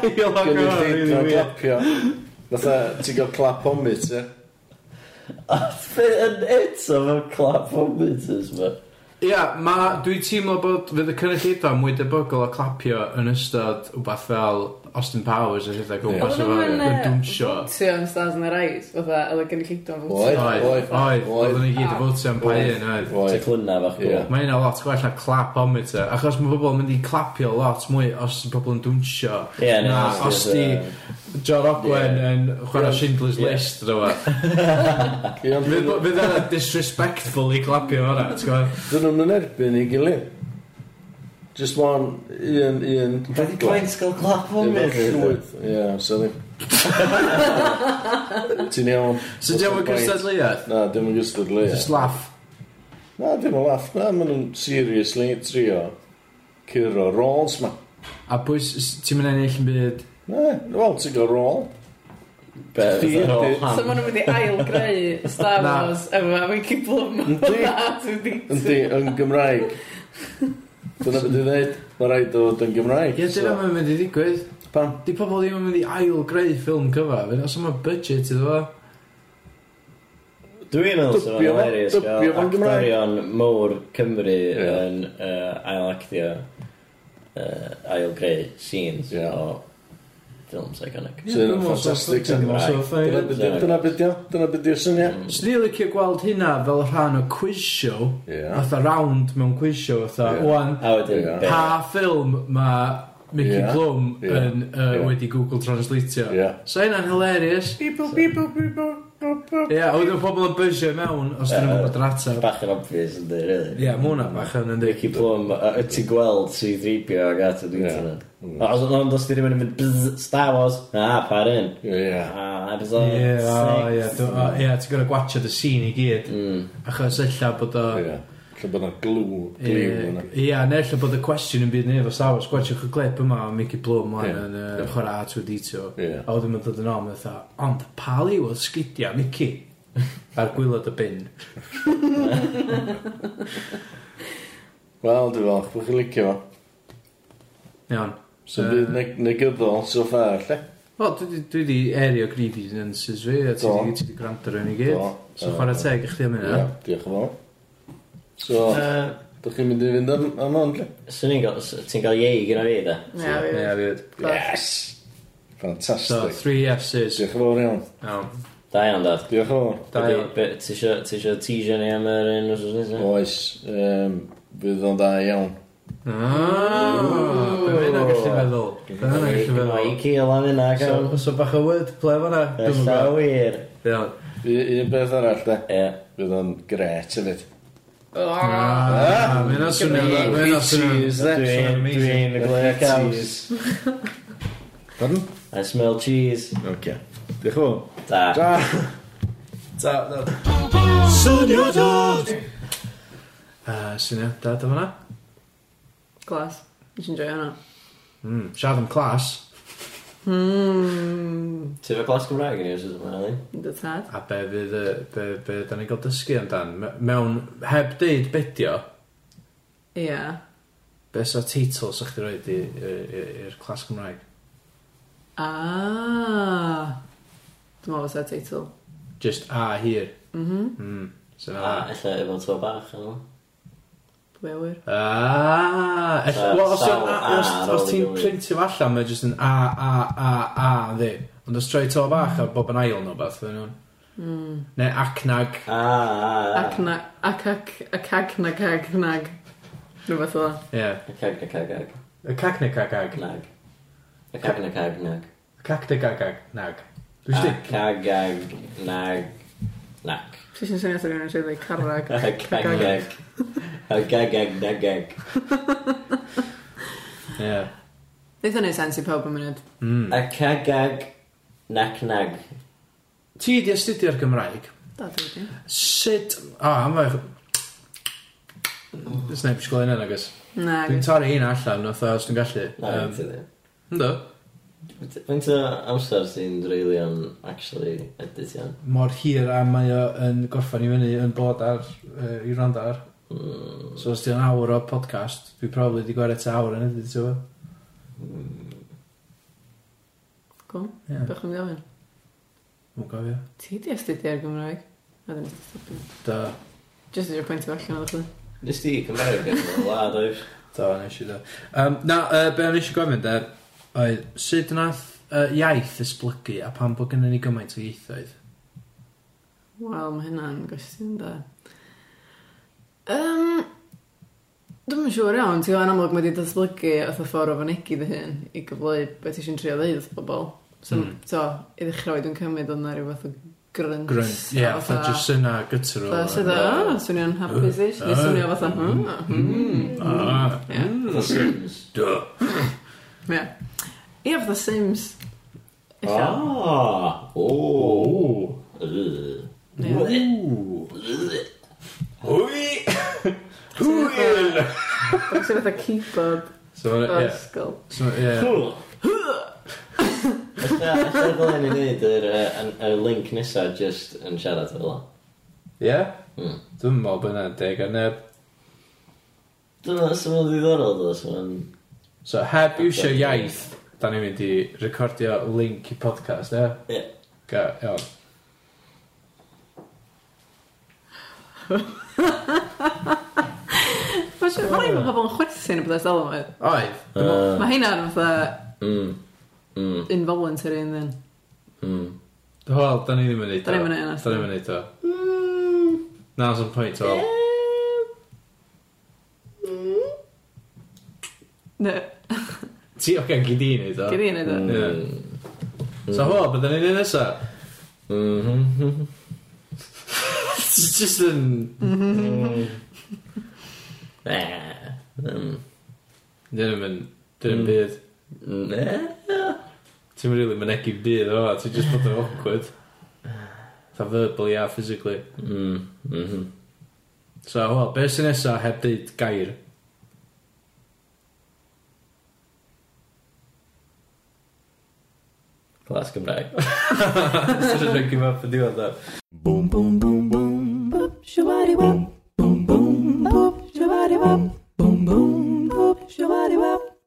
S6: Gynnu ddyn o'n
S1: ddyn.
S6: clapio Fatha, ti'n gael clap on bit, ie
S2: Yn eto fel clap o meters, ma.
S1: Ia, ma, dwi teimlo bod fydd y cynulleidfa mwy debygol o clapio yn ystod wbeth fel Austin Powers a rhywbeth o gwmpas efo
S3: Oedden
S1: yn
S3: nhw'n, yy,
S1: dwmsio.
S3: Fotio yn Stars in the Rise, fatha, oedd y gynulleidfa yn fotio.
S6: Oedd.
S1: Oedd, oedd, oedden ni gyd y fwtio am pa
S6: Oedd.
S1: un, oedd.
S2: Ti'n clynna fach
S6: Ie.
S2: gwrdd.
S1: Mae hynna lot gwell na clap on it e. Achos mae pobl yn mynd i clapio lot mwy os ydy pobl yn dwnsio.
S2: Ie, na,
S1: na,
S2: os
S1: os di
S2: di-
S1: John Ogwen
S2: Ie.
S1: yn chwarae
S6: Ie.
S1: Schindler's
S2: Ie.
S1: List rhywbeth. Fydd
S6: Dyn
S1: fydd yna disrespectful i clapio hwnna, ti'n gwybod?
S6: nhw'n yn erbyn i gilydd Just one, un, un
S2: Beth i pwynt gael clap o
S6: Efo
S2: meters?
S6: llwyth Ie, so ddim Ti'n iawn
S1: So diolch yn cystadleuaeth?
S6: Na, dim yn gystod le
S1: Just laugh.
S6: Na, dim yn laff Na, maen nhw'n seriously trio Curo rolls ma
S1: A pwy, s- s- ti'n mynd ennill yn byd?
S6: Na, wel, ti'n gael roll
S2: Beth
S6: Chdi
S2: i'r
S6: ydi-
S3: So maen
S2: hand?
S3: nhw'n mynd i ail-greu Star
S1: Na.
S3: Wars efo Mickey Blum.
S6: Yndi. Yndi,
S3: Yndi.
S6: yn Gymraeg. Dyna beth i ddweud, mae rhaid o fod yn Gymraeg.
S1: Ie, dyna mae'n mynd i ddigwydd.
S6: Pan?
S1: Di pobl ddim yn mynd i ail greu ffilm cyfa. Fydd os yma budget iddo fo.
S2: Dwi'n meddwl sy'n
S6: Dybio fo-
S2: hilarious
S6: dybio
S2: gael
S6: fo'n Gymraeg.
S2: actorion mowr Cymru
S6: Ie.
S2: yn uh, ail-actio, uh, ail-greu scenes
S6: Ie.
S2: o ffilms iconic.
S6: Sy'n fantastic sy'n Dyna beth i- dyna beth o, dyna beth i'r syniad.
S1: Swn i'n licio gweld hynna fel rhan o quiz show.
S6: Ie.
S1: Fatha round mewn quiz show. Fatha,
S6: Ie.
S1: wan,
S2: A wedyn,
S6: Ie.
S2: be?
S1: pa ffilm mae Mickey
S6: Ie.
S1: Plum
S6: Ie.
S1: yn uh,
S6: Ie.
S1: wedi Google Translate.
S6: Ie.
S1: So hynna'n hilarious.
S3: People, people, people.
S1: Ie, yeah, oedd y pobl yn bysio mewn os dyn nhw'n
S2: Yy,
S1: gwybod yr ateb.
S2: Bach yn obvious yn dweud, really.
S1: Ie, mae hwnna bach yn yn
S2: Mickey Plum, y ti gweld si ddribio ag at y
S6: Ie. Mm.
S2: dwi'n tyna. Os ond os ti ddim yn mynd bzz, Star Wars, a par un.
S6: Ie.
S2: A episode
S1: Ie, o, ie,
S2: six.
S1: dw- o, ie, ti'n gorau gwachio dy scene i gyd.
S2: Mm.
S1: Achos ella bod o...
S6: Ie. Lle bod yna glw, gliw yna.
S1: Ie, Ie, neu lle bod y cwestiwn yn byd neu efo Star Wars, gwachwch y clip yma o Mickey Plum
S6: Ie.
S1: o'n yn yy,
S6: Ie.
S1: chwarae R2D2.
S6: Ie.
S1: A wedyn mae'n dod yn om, eitha, ond pali oedd sgidia Mickey ar gwylod y bin.
S6: Wel, dwi'n falch, bwch chi licio fo.
S1: Iawn.
S6: So
S1: Yy.
S6: bydd neg- negyddol so far, lle?
S1: Wel, dwi 'di- dwi wedi erio grievances fi, a ti
S6: Do.
S1: 'di- ti wedi gwrando rhywun i gyd.
S6: Do.
S1: So chwarae teg i chdi am hynna.
S6: Ie, diolch yn fawr. So, dych chi'n mynd i fynd am am hon, lle?
S2: Swn i'n gael, s- ti'n gael yei gyda fi, da?
S3: Ia, fi.
S1: Ie, fyd.
S3: Yes.
S1: So,
S6: Fantastic.
S1: three S's.
S6: Diolch yn fawr iawn.
S1: Iawn.
S2: Da iawn, dad.
S6: Diolch yn fawr.
S1: Da iawn.
S2: Be- be- Ti isio ti isio teasio ni am yr un os oes nesaf?
S6: Oes, yym, bydd o'n dda iawn.
S1: Ah, Be mae hynna'n gallu meddwl? Be mae hynna'n gallu
S2: Mae i
S1: meddwl?
S2: cael am hynna,
S1: So,
S2: gael.
S1: so bach o wordplay fan'na. Dwi'm yn
S2: Ella
S1: gwbod.
S2: wir.
S1: Iawn.
S6: U- Un beth arall, de.
S2: Ie.
S6: Bydd o'n gret hefyd.
S1: Ah, Mae hynna'n swnio...
S2: Gymru,
S1: Mae hynna'n swnio...
S6: Cheese, de.
S2: Dwi'n dwi'n y glwyr caws.
S6: Pardon?
S2: I smell cheese.
S6: Oce. Diolch yn fawr.
S2: Da.
S6: Da!
S1: Ta, ta. Ah, Swnio dad o fan'na.
S3: Glas. Nes i'n joio hwnna.
S1: Mm, Siarad am clas.
S3: Mmm.
S2: Ti fe glas Cymraeg yn i os oes yma, Elin?
S3: Dy tad.
S1: A be fydd... y- Be, be da ni'n gael dysgu amdan. Me- Mewn... Heb deud bedio,
S3: Ia.
S1: be sa teitl sa chdi roed i'r clas Cymraeg?
S3: Ah. Dwi'n meddwl fysa teitl.
S1: Just a hir. Mhm. So
S2: A,
S1: na.
S2: Ah, ella efo to bach, yma.
S3: Pwy a wir?
S1: Ah, ell-
S2: Sa-
S1: wel, os,
S2: sawl
S1: yn-
S2: a
S1: os,
S2: ar
S1: os
S2: ôl ei
S1: ti'n
S2: gilydd.
S1: printio fo allan, mae jyst yn a, a, a, a, ddi. Ond os troi to bach ar bob yn ail nhw beth, fydden nhw'n. Neu acnag.
S2: A, a, a.
S3: Acna... Acac... Acac na cag nag. Rhywbeth o.
S1: Ie.
S2: Y cag na cag ag.
S1: Y cacneg agag.
S2: Nag. Y cag na cag nag.
S1: Y cacneg agag. Nag. Dwi'n
S2: A
S1: sti?
S2: cag ag nag. Nac.
S3: Ti eisiau syniad o'n rhywun sy'n dweud carag.
S2: A cag ag. A cag ag nag ag.
S1: Ie.
S3: Neith o'n ei sens i pawb yn munud.
S1: Mm.
S2: A cag ag nac nag.
S1: Ti di astudio'r Gymraeg.
S3: Da, dwi'n di.
S1: Sut... O, am fe... Ys neb eisiau gweld hynna, nagos.
S3: Na,
S1: Dwi'n torri hyn allan, oedd os dwi'n gallu.
S2: Na,
S1: Yym,
S2: ti ddim.
S1: Ynddo.
S2: Faint o amser sy'n dreulio'n actually editio'n?
S1: mor hir a mae o yn gorffan i fyny yn bod ar uh, i rand ar
S2: Mm,
S1: so os di o'n awr o podcast dwi probably di gwared ta awr yn edrych ti'n fawr
S3: Cool.
S1: Ie.
S3: Bach yn gofyn.
S1: mwyn gofio
S3: Ti di astudio'r Gymraeg? A dyn ni'n stopio.
S1: da
S3: Just i'r pwynt o allan o'r chwi.
S2: Nes di Cymraeg yn y wlad oes?
S1: da nes i da um, na uh, be o'n eisiau gofyn da oedd sut nath uh, iaith esblygu a pan bod gynnu ni gymaint o ieithoedd
S3: Wel, mae hynna'n gwestiwn da. Um, Dwi'n yn siŵr iawn, ti'n gwybod amlwg mae wedi datblygu oedd y ffordd o fanegu dy hun i gyfleu beth ti'n trio ddeud wrth bobl. So,
S1: Mm.
S3: mm. to, i ddechrau wedi dwi'n cymryd oedd na rhyw fath o grynt.
S1: grunt ie yeah, fatha just yna gytr o
S3: Fatha sydd o, "Ah, swnio'n hapus ish, neu swnio fatha, hmm,
S1: mm,
S3: ah, hmm.
S1: Ah,
S3: Ie.
S2: The Sims.
S1: duh. mm.
S3: Ie. Ie, fatha Sims. Ella.
S2: Ah! Oh! Ugh.
S3: Ie.
S2: Ugh. Hwy!
S3: Hwyl! Dwi'n fatha keyboard
S1: So,
S3: o
S1: ie.
S3: ysgol.
S1: So, ie.
S2: Hw! Ella ella ddylen ni wneud yr yy, yn- y link nesa just yn siarad fel yna.
S1: Ie?
S2: Hmm.
S1: Dwi'n meddwl bod yna'n deg ar neb.
S2: Dyna sy'n mynd ddiddorol ddo, sy'n mynd...
S1: So, heb iwsio iaith, da ni'n mynd i recordio link i podcast, ie?
S2: Ie.
S1: Ga, iawn.
S3: Mae'n siŵr, mae'n rhaid bod pobl yn chwerthu'n y byddai sal yma.
S1: Oedd. Dwi'n meddwl-
S2: Yy,
S3: Mae hynna'n fatha
S2: Mm. Mm.
S3: involuntary yn ddyn.
S2: Mm.
S1: Dwi'n meddwl, da ni ddim yn neud o.
S3: Da ni'n mynd yna.
S1: Da ni'n mynd neud o. Na, sy'n pwynt o.
S3: Ne,
S1: Ti o gen gyd i neud o.
S3: gyd i'n neud o.
S2: Mm.
S1: Ie. So, ho, bydda ni'n neud nesa.
S2: Mhm.
S1: It's just yn...
S2: Eh. Mm.
S1: Dyn ni'n mynd... Dyn ni'n byd.
S2: Eh?
S1: Ti'n mynd rili mynegu byd o, ti'n just bod yn awkward. Tha verbally a physically.
S2: Mm. Mhm.
S1: So, wel, be sy'n nesa heb dweud gair?
S2: Clas Gymraeg.
S1: Sy'n rhaid give up yn diwedd da.
S4: Boom, boom, boom, boom. Boom, boom, boom, boom.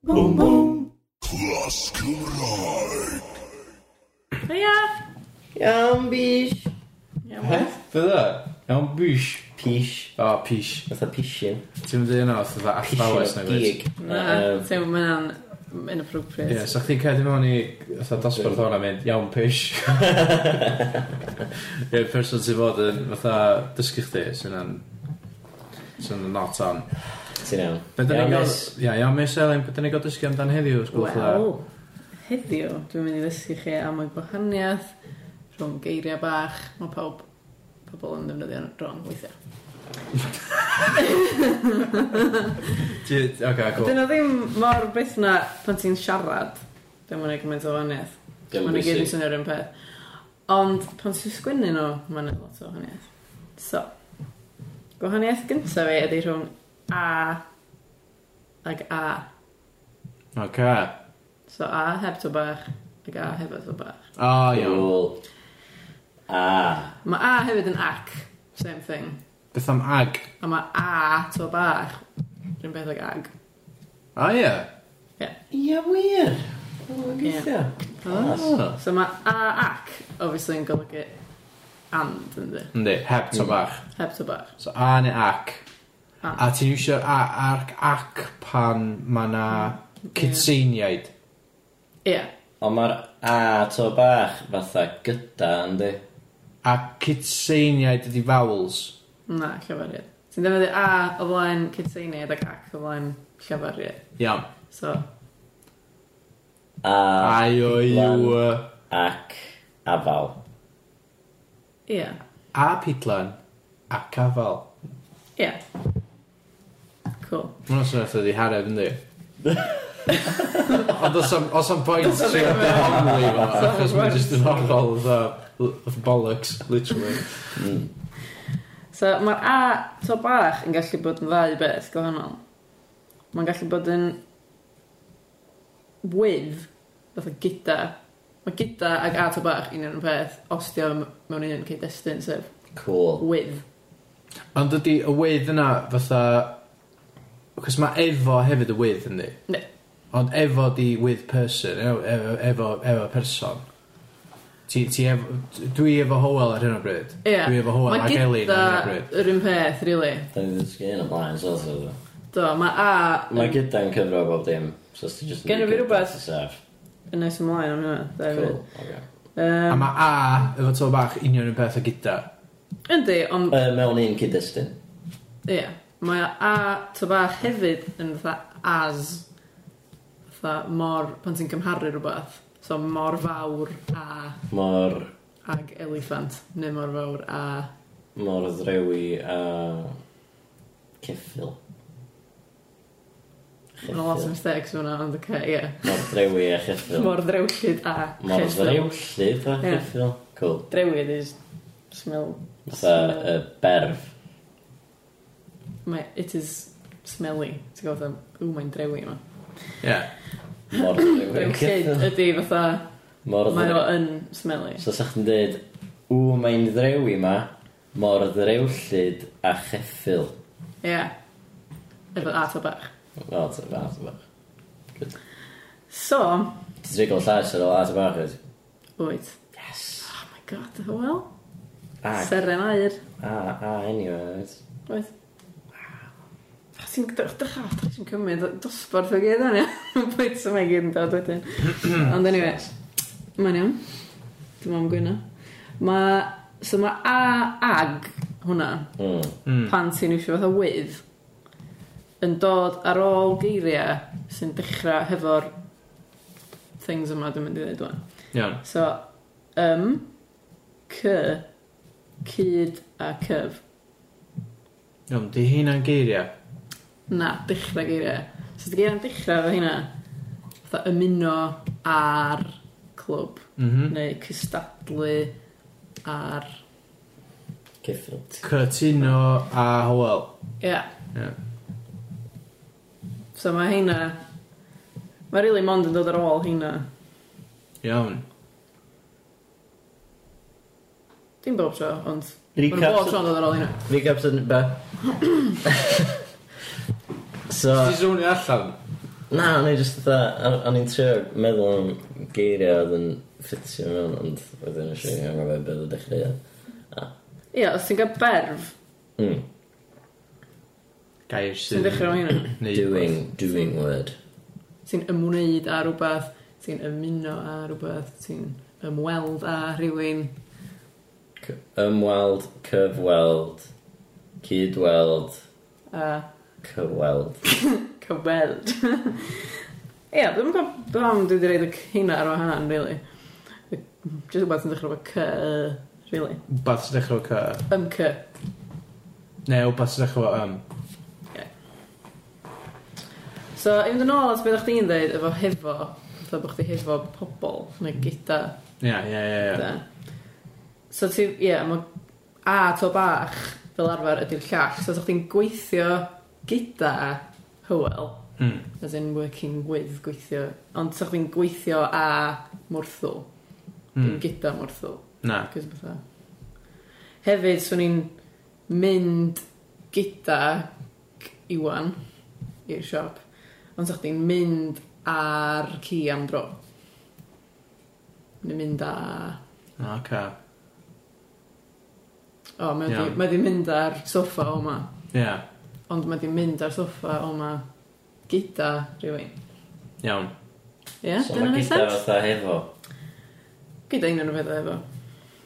S4: Boom, boom. Clas Cymraeg.
S3: Ia!
S2: Iawn, bish.
S1: Heth? Fe dda? Iawn bish.
S2: Pish.
S1: O, pish.
S2: Fatha pishin.
S1: Ti'n mynd i yna oedd dda athrawes neu gwyd.
S2: gig. Yym,
S3: Tew, mae'n
S1: Ie,
S3: inappropriate.
S1: so chdi'n cedi mewn i fatha dosbarth hwnna mynd, iawn pish. Ie, person sy'n fod yn fatha dysgu chdi, sy'n an... sy'n not on.
S2: Ti'n iawn.
S1: Be dyn ni
S2: Iawn,
S1: gael...
S2: miss.
S1: Ie, iawn miss Elin, be dyn ni gael dysgu amdan heddiw, sgwrs
S3: Wel, heddiw, dwi'n mynd i ddysgu chi am y gwahaniaeth rhwng geiriau bach. Mae pawb, pobl yn defnyddio nhw'n wrong weithiau.
S1: Oce, cool.
S3: Dyn nhw ddim mor beth na pan ti'n siarad, dwi'n mwyn ei gymaint o wahaniaeth.
S2: Dim
S3: Mae'n gyd yn
S2: bwysig.
S3: swnio'r un peth. Ond pan ti'n sgwennu nhw, mae'n lot o gwahaniaeth. So, gwahaniaeth gyntaf fi ydy rhwng a ag a.
S1: Oce.
S3: So, a heb to bach ag a heb to bach.
S1: O, iawn.
S2: Cool. Ah.
S3: Mae a hefyd yn ac, same thing.
S1: Beth am ag?
S3: A mae a to bach, rhywun beth ag ag.
S1: O, ie.
S2: Ia, wir.
S3: gweithio.
S1: O.
S3: So, mae a ac, obviously, yn golygu and, ynddi.
S1: Yndi, heb to bach.
S3: Heb to bach.
S1: So a neu ac.
S3: Ac.
S1: A ti'n iwsio a ac, ac pan mae na cytseiniaid.
S3: Ie. Yeah.
S2: Ond mae'r a to bach fatha gyda, yndi?
S1: A cytseiniaid ydi vowels.
S3: Na, llafariad. Ti'n defnyddio a o flaen cytseiniad ac ac o flaen llafariad.
S1: Iawn.
S3: So,
S2: A,
S1: A o yw...
S2: ac, afal.
S3: ie. Yeah.
S1: A pidlan ac afal.
S3: Ie. Yeah. Cool.
S1: Mae'n os yna'n ydi haref, yndi? Ond os am- os am pwynt trio dehongli fo, achos mae'n just yn horrol fatha bollocks, literally.
S3: So, mae'r a to bach yn gallu bod yn ddau beth gwahanol. Mae'n gallu bod yn with Fath o gyda. Mae gyda ag a to bach un yn y peth, os di o mewn un cyd-destun, sef
S2: Cool.
S3: with.
S1: Ond ydy y wydd yna fatha... Cos mae efo hefyd y wydd yndi?
S3: Ne.
S1: Ond efo di with person, e- efo, efo, efo person. Ti, ti efo, dwi efo Howell ar hyn o bryd.
S3: Ie.
S1: Dwi efo Howell
S3: Mae
S1: ac Elin
S3: gyda
S1: ar hyn o bryd.
S3: yr un peth, really.
S2: Da ni wedi sgyn yn blaen, so oedd o.
S3: Do, mae a
S2: Mae gyda'n cyfro bob dim. So os ti just...
S3: Genna fi rwbeth.
S2: Sef.
S3: yn nes ymlaen am hynna. da
S2: Cool.
S3: hefyd.
S2: Okay.
S1: A
S3: Yym,
S1: mae A efo to bach union yn peth o gyda.
S3: Yndi, ond
S2: Uh, mewn un cyd-destun.
S3: ie. Mae a to bach hefyd yn fatha as. Fatha mor, pan ti'n cymharu rhywbeth. So mor fawr a
S2: Mor...
S3: ag elefant. Neu mor fawr a...
S2: Mor ddrewi a... Ceffil.
S3: Mae'n lot o mistakes fyna, ond oce, ie.
S2: Mor ddrewi a cheffil.
S3: Mor drewllyd a...
S2: Mor
S3: cheffil.
S2: ddrewllyd a
S3: Ie.
S2: cheffil. Cool.
S3: Drewydd is smell...
S2: Fatha y berf.
S3: Mae, it is smelly. Ti'n gofio, ww, mae'n drewi yma.
S1: Ie. Yeah.
S2: Mor ddrewi a
S3: Drewllyd
S2: cheffil.
S3: ydy fatha,
S2: Mor
S3: mae o
S2: ddrewi.
S3: yn smelly.
S2: So sa'ch chi'n dweud, ww, mae'n ddrewi ma. Mor ddrewllyd a cheffil.
S3: Ie. Efo at o bach.
S2: Wel, ti'n fath o bach.
S3: So,
S2: Ti'n drigol llais ar ôl at y bach, wyt?
S3: wyt.
S2: Yes.
S3: Oh my god, wel.
S2: Ag,
S3: Seren air.
S2: a, a, anyway, wyt?
S3: Wyt. O, Ti'n dechra, ti'n cymryd dosbarth o gyd o'n iawn. Pwynt sy'n mae gyd yn dod wedyn. Ond anyway, mae'n iawn. Dim ond gwyno. Mae, so mae a ag hwnna,
S2: Mm.
S1: Mm.
S3: pan ti'n eisiau fatha with, yn dod ar ôl geiriau sy'n dechrau hefo'r things yma dwi'n mynd i ddweud dwi'n.
S1: Iawn.
S3: So, ym, cy, cyd a cyf.
S1: Iawn, di hynna'n geiriau.
S3: Na, dechrau geiriau. So dy geiriau'n dechrau efo hynna. Fatha ymuno ar clwb.
S1: Mhm.
S3: Neu cystadlu ar...
S2: Cyffil.
S1: Cytuno a Howell.
S3: Ia.
S1: Ie.
S3: So mae hynna... Mae rili really mond yn dod ar ôl hynna.
S1: Iawn.
S3: Dim bob tro, ond... Mae'n bob
S2: Recaps,
S3: tro'n dod ar ôl hynna.
S2: recaps yn be? so,
S1: Ti zownio allan?
S2: na, o'n i just dda, o'n i'n trio meddwl am geiriau oedd yn ffitio mewn, ond wedyn eisiau i'n angen fe beth o dechrau.
S3: Ia, os ti'n cael berf,
S2: Mm.
S1: Gair
S3: ti'n
S1: sydd.
S3: dechrau efo hynna.
S1: Neu
S2: Doing, doing word.
S3: Ti'n ymwneud â rhywbeth, ti'n ymuno â rhywbeth, ti'n ymweld â rhywun.
S2: C- Ymweld, cyfweld, cydweld,
S3: A
S2: cyfweld.
S3: Cyweld. Ie, dwi'n gwybod pam dwi wedi reid y cynna ar wahan, really. Jyst rhywbeth yn dechrau efo cy, yy, really.
S1: Bath sy'n dechrau cy.
S3: Ym cy.
S1: Neu wbath sy'n dechrau am.
S3: So, i fynd yn ôl at beth o'ch di'n dweud efo hefo, fatha bod chdi hefo pobl, neu gyda,
S1: Ie, ie, ie, ie.
S3: da. So, ti, ie, mae a to bach fel arfer ydy'r llall. So, os o'ch di'n gweithio gyda Hywel,
S1: Mm.
S3: as in working with, gweithio, ond os o'ch di'n gweithio a Mwrthwl, dim
S1: Mm.
S3: gyda Mwrthwl.
S1: Na.
S3: Cos bethau. Hefyd, swn i'n mynd gyda c- Iwan i'r siop, ond sa'ch di'n mynd ar ci am dro. Neu mynd a...
S1: Na, ca.
S3: O, mae o 'di-
S1: Iawn.
S3: mae o 'di mynd ar soffa o ma.
S1: Ie.
S3: Ond mae o 'di mynd ar soffa o ma gyda rhywun.
S1: Iawn.
S3: Ie, yeah,
S2: So
S3: dyna
S2: mae
S3: neud
S2: gyda
S3: sens?
S2: fatha hefo.
S3: Gyda un o'n pethau efo.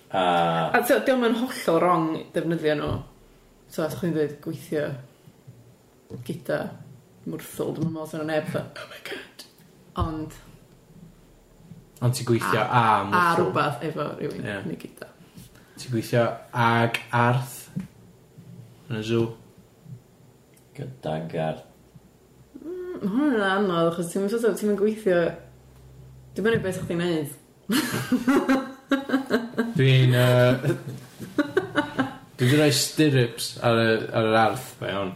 S2: A,
S3: A ti'n diolch yn hollol wrong defnyddio nhw. So, os chi'n dweud gweithio gyda mwrthol, dwi'n meddwl sy'n o'n neb fatha, oh my god. Ond,
S1: Ond ti'n gweithio a
S3: a
S1: mwthw.
S3: rhywbeth efo rhywun,
S1: Ie.
S3: yeah. neu gyda.
S1: Ti'n gweithio ag arth. Yn y zoo.
S2: gyda gar.
S3: Mm, Ma' hwnna'n anodd, achos ti'n sort of- ti'm yn gweithio... Dwi'n mynd i beth chdi'n neud.
S1: Dwi'n... yy, Dwi wedi rhoi stirrups ar, y, ar yr arth, mae hwn.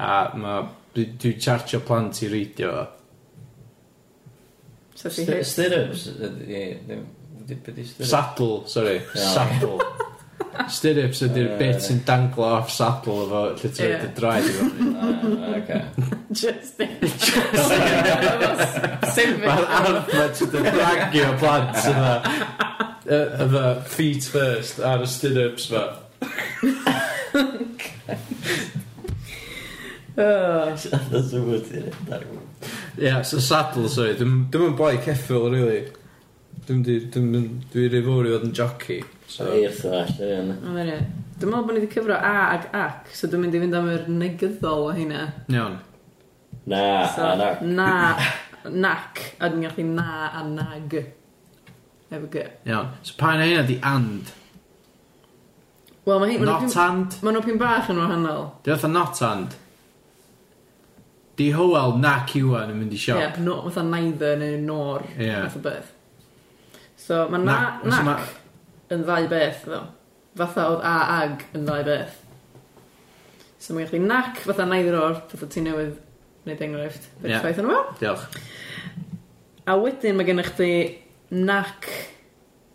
S1: A ma... dwi- Dwi'n charge chargio plant i reidio fo.
S3: So ti
S2: St-
S3: hit.
S2: Stirrups. ydy- ie, ddim- ydy- be' 'di stirrups?
S1: Saddl, sorry.
S2: Iawn.
S1: Saddl. Stirrups ydy'r bit sy'n danglo off saddl efo lle ti'n
S3: Ie.
S1: rhaid y draed efo.
S2: Ah, ocê.
S3: Just think.
S1: Mae'n
S3: Sefyll.
S1: arth mae ti'n dy dragio plant yna. Yna feet first ar y stirrups fa.
S2: Oedd y sŵn ti'n edrych.
S1: Ie, yeah, so saddl, sorry. Dwi'n yn boi ceffil, really. Dwi'n dwi'n rhaid fawr i fod yn jockey. So,
S2: Eirth all, ie.
S3: Dwi'n meddwl bod ni wedi cyfro A ag ac, so dwi'n mynd i fynd am yr negyddol o hynna.
S1: iawn.
S2: Na,
S3: So,
S2: a na.
S3: na, nac, a dwi'n gallu na a nag. Efo g.
S1: Iawn. So pa na hynna di and?
S3: Wel, mae hyn...
S1: Not and?
S3: Mae nhw pyn bach yn wahanol.
S1: Di fatha not and? Di hoel na cywan e yn mynd i
S3: Ie,
S1: siop?
S3: no, fatha neither neu nor,
S1: Ie.
S3: fath o beth. So, mae na,
S1: Nac- so
S3: nac
S1: ma-
S3: yn ddau beth, ddo. Fatha oedd a ag yn ddau beth. So, mae'n gallu nac, fatha neither or, fatha ti newydd wneud enghraifft. Beth
S1: Ie.
S3: yeah. ffaith yn yma?
S1: Diolch.
S3: A wedyn mae gennych chdi nac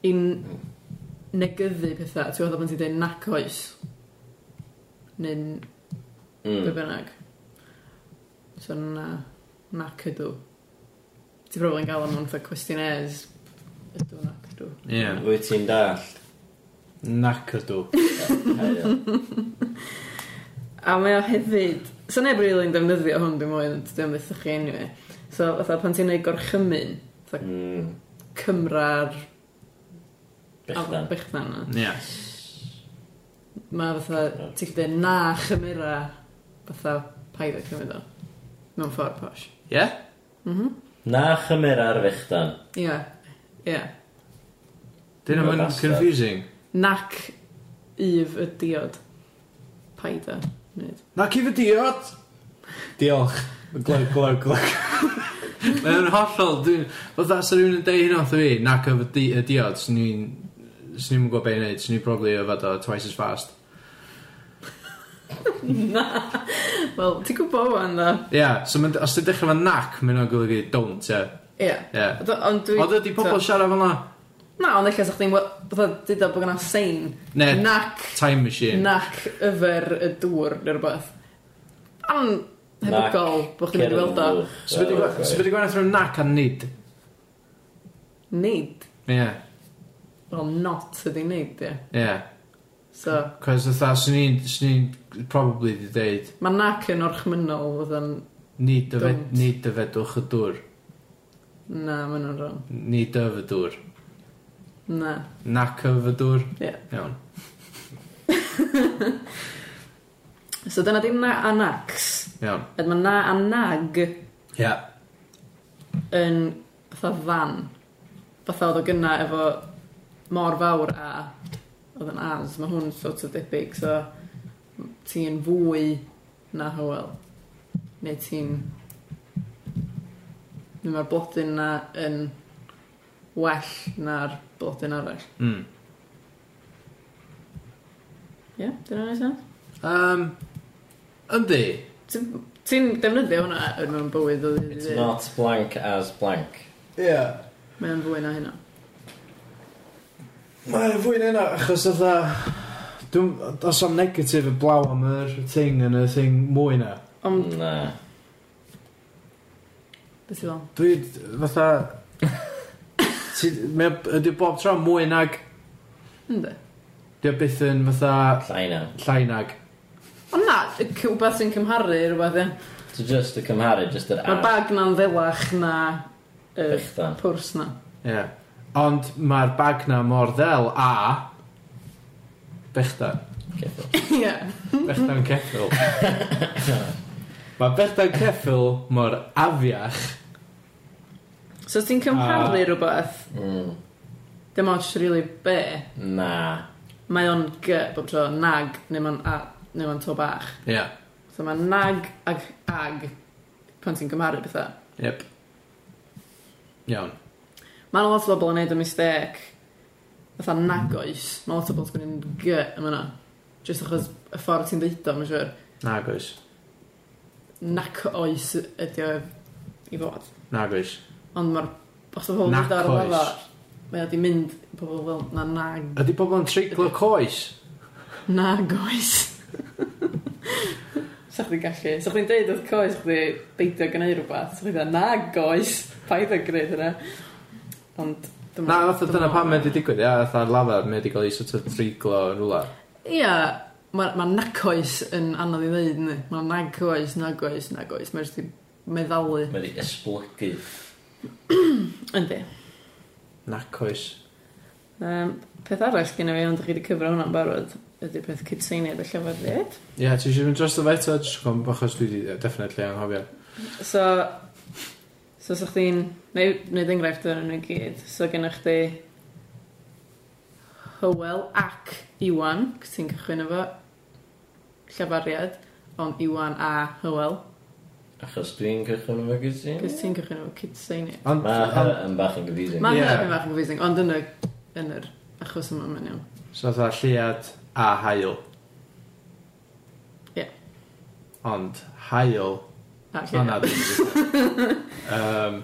S3: i n- negyddu pethau. Ti'n meddwl bod ti'n dweud nac oes? Neu n- be
S2: Mm.
S3: bynnag. So na, nac ydw. Ti'n probably yn gael am ond cwestionaires. Ydw nac ydw.
S1: Ie.
S2: Wyt ti'n dall?
S1: Nac ydw.
S3: A mae o hefyd... So neb rili'n defnyddio hwn dim mwy, ond dwi'n byth chi anyway. So, fatha, pan ti'n neud gorchymyn, fatha
S2: Mm.
S3: cymra'r
S2: Bechdan.
S3: bechdan na.
S1: Ie.
S3: Mae fatha, ti'n dweud na chymera, fatha paid o cymryd o. Mewn ffordd posh.
S1: Ie?
S2: Na chymur ar fechdan.
S3: Ie, ie.
S1: Dyn
S2: You're a
S1: nhw'n
S2: bastard.
S1: confusing.
S3: Nac yf y diod. Paid o. wneud.
S1: Nac i fy diod! Diolch. Glwg, glwg, glwg. Mae o'n hollol, dwi'n... Fytha, sa rhywun yn deud hynna wrtho fi, nac o fy di- y diod, swn i'n... Swn i'n gwybod beth i wneud, swn i'n probably o fod o twice as fast.
S3: Wel, ti'n gwybod o'n dda?
S1: Ie, yeah, so ma'n- os ti'n dechrau fan nac, mae'n o'n golygu don't, ie.
S3: Ie.
S1: Ie.
S3: Do- Ond dwi...
S1: Oedd ydi pobl siarad fan la?
S3: Na, ond eich eich chdi'n... wel, Fatha, dyda bod yna sein.
S1: Ne,
S3: Nac,
S1: time machine.
S3: nac yfer y dŵr, neu rhywbeth. Ond, hefyd
S2: Nac
S3: gol, bod chdi'n mynd i weld o.
S1: So byddi gwaith rhywun nac a nid?
S3: Nid.
S1: Ie, yeah,
S3: Wel, not ydi nid, ie.
S1: ie. Yeah.
S3: So,
S1: Cos fatha, swn i'n... Swn i'n probably di deud,
S3: mae nac yn orchmynol, fydd yn...
S1: nid dyfed-
S3: Don't.
S1: nid dyfedwch y dŵr.
S3: Na, mae nhw'n rong.
S1: Ni dy fy dŵr.
S3: Na.
S1: Nac y fy dŵr.
S3: Ie.
S1: Iawn.
S3: So dyna di na a nacs.
S1: Iawn.
S3: Ed mae na a nag
S1: Ia.
S3: yn fatha fan. Fatha oedd o gynna efo mor fawr a oedd yn as. Mae hwn sort of debyg, so ti'n fwy na hywel. Neu ti'n... Neu mae'r blodyn na yn well na'r blodyn arall.
S1: Mm.
S3: Ie, yeah, dyna ni sen.
S1: Um, yndi.
S3: Ti'n ti'n defnyddio hwnna yn mewn bywyd o ddydd i
S2: It's
S3: ddydd?
S2: not blank as blank.
S1: Ie. Yeah.
S3: Mae'n fwy na hynna.
S1: Mae'n fwy na hynna, achos oedd Dwi'n... Os am negatif y blaw am yr thing yn y thing mwy na.
S3: Ond,
S2: Na.
S3: beth i fel?
S1: Dwi... Fatha... ti- mae o- Ydy bob tro mwy nag...
S3: Ynddi.
S1: Dio byth yn fatha
S2: Llai na.
S1: llai nag.
S3: Ond na, y- c- wbeth sy'n cymharu rhywbeth, ie.
S2: So just y cymharu, just yr
S3: Mae'r
S2: a
S3: bag na'n ddelach na y
S2: bechdan.
S3: pwrs na.
S1: Ie. Yeah. Ond mae'r bag na mor ddel a... Bechdan.
S2: Ceffyl.
S3: Ie.
S1: Bechdan ceffil. Mae bechdan ceffil mor afiach.
S3: So os ti'n cymharu
S1: A-
S3: rhywbeth,
S2: Mm.
S3: dim ots really be,
S2: Na.
S3: mae o'n gy bob tro, nag, neu mae'n a, neu mae'n to bach.
S1: Ie. Yeah.
S3: So mae nag ag ag pan ti'n cymharu bethau.
S1: Yep. Iawn.
S3: Mae'n lot o bobl yn neud y mistec. Fatha nagoes. Mae lot o bobl yn gwneud gy yma yna. Just achos y ffordd ti'n ddeud o, mae'n siŵr.
S1: Nagwys.
S3: Nac oes ydi o i fod.
S1: Nagwys.
S3: Ond mae'r Os o pobl yn dod ar y
S1: Nacoes.
S3: lafa, mae o di mynd i pobl fel na nag.
S1: Ydy pobl yn treiglo coes?
S3: Nag oes. Sa chdi gallu. Sa chdi'n deud oedd coes chdi beidio gwneud rhywbeth. Sa chdi'n dweud nag oes. Paid o gwneud hynna. Ond... dyma-
S1: Na, fatha dyna
S3: dyma-
S1: pan mae wedi digwydd, ia, fatha lafar, mae wedi cael ei sort of treiglo yn rwla.
S3: Ia, mae ma nacoes yn anodd i ddeud, ni. Mae nagoes, nagoes, nagoes. Mae jyst i meddalu.
S2: Mae di esblygu.
S3: Yndi.
S1: Nacoes.
S3: Um, peth arall gen i fi, ond chi wedi cyfro hwnna'n barod, ydy peth cytseiniad y llyfoddiad.
S1: Ia, ti eisiau mynd dros y fe eto, jyst gwybod, achos dwi wedi definitely anghofio.
S3: So, so sa chdi'n neud, neud enghraifft o'r nhw gyd, so gennych chdi Hywel ac Iwan, ti'n cychwyn efo llafariad, ond Iwan a Hywel,
S2: Achos dwi'n cychwyn efo gysi.
S3: cys ti'n cychwyn efo cytseiniad.
S1: Ond,
S2: Mae
S1: ond-
S2: hynna yn bach yn gyfusing.
S3: Mae
S1: Ie.
S3: hynny'n bach yn confusing, ond yn y, yn yr achos yma mae'n iawn.
S1: so fatha lliad a hael.
S3: Ie.
S1: Ond, hael,
S3: Ac
S1: o na
S3: ie.
S1: ddim. Um,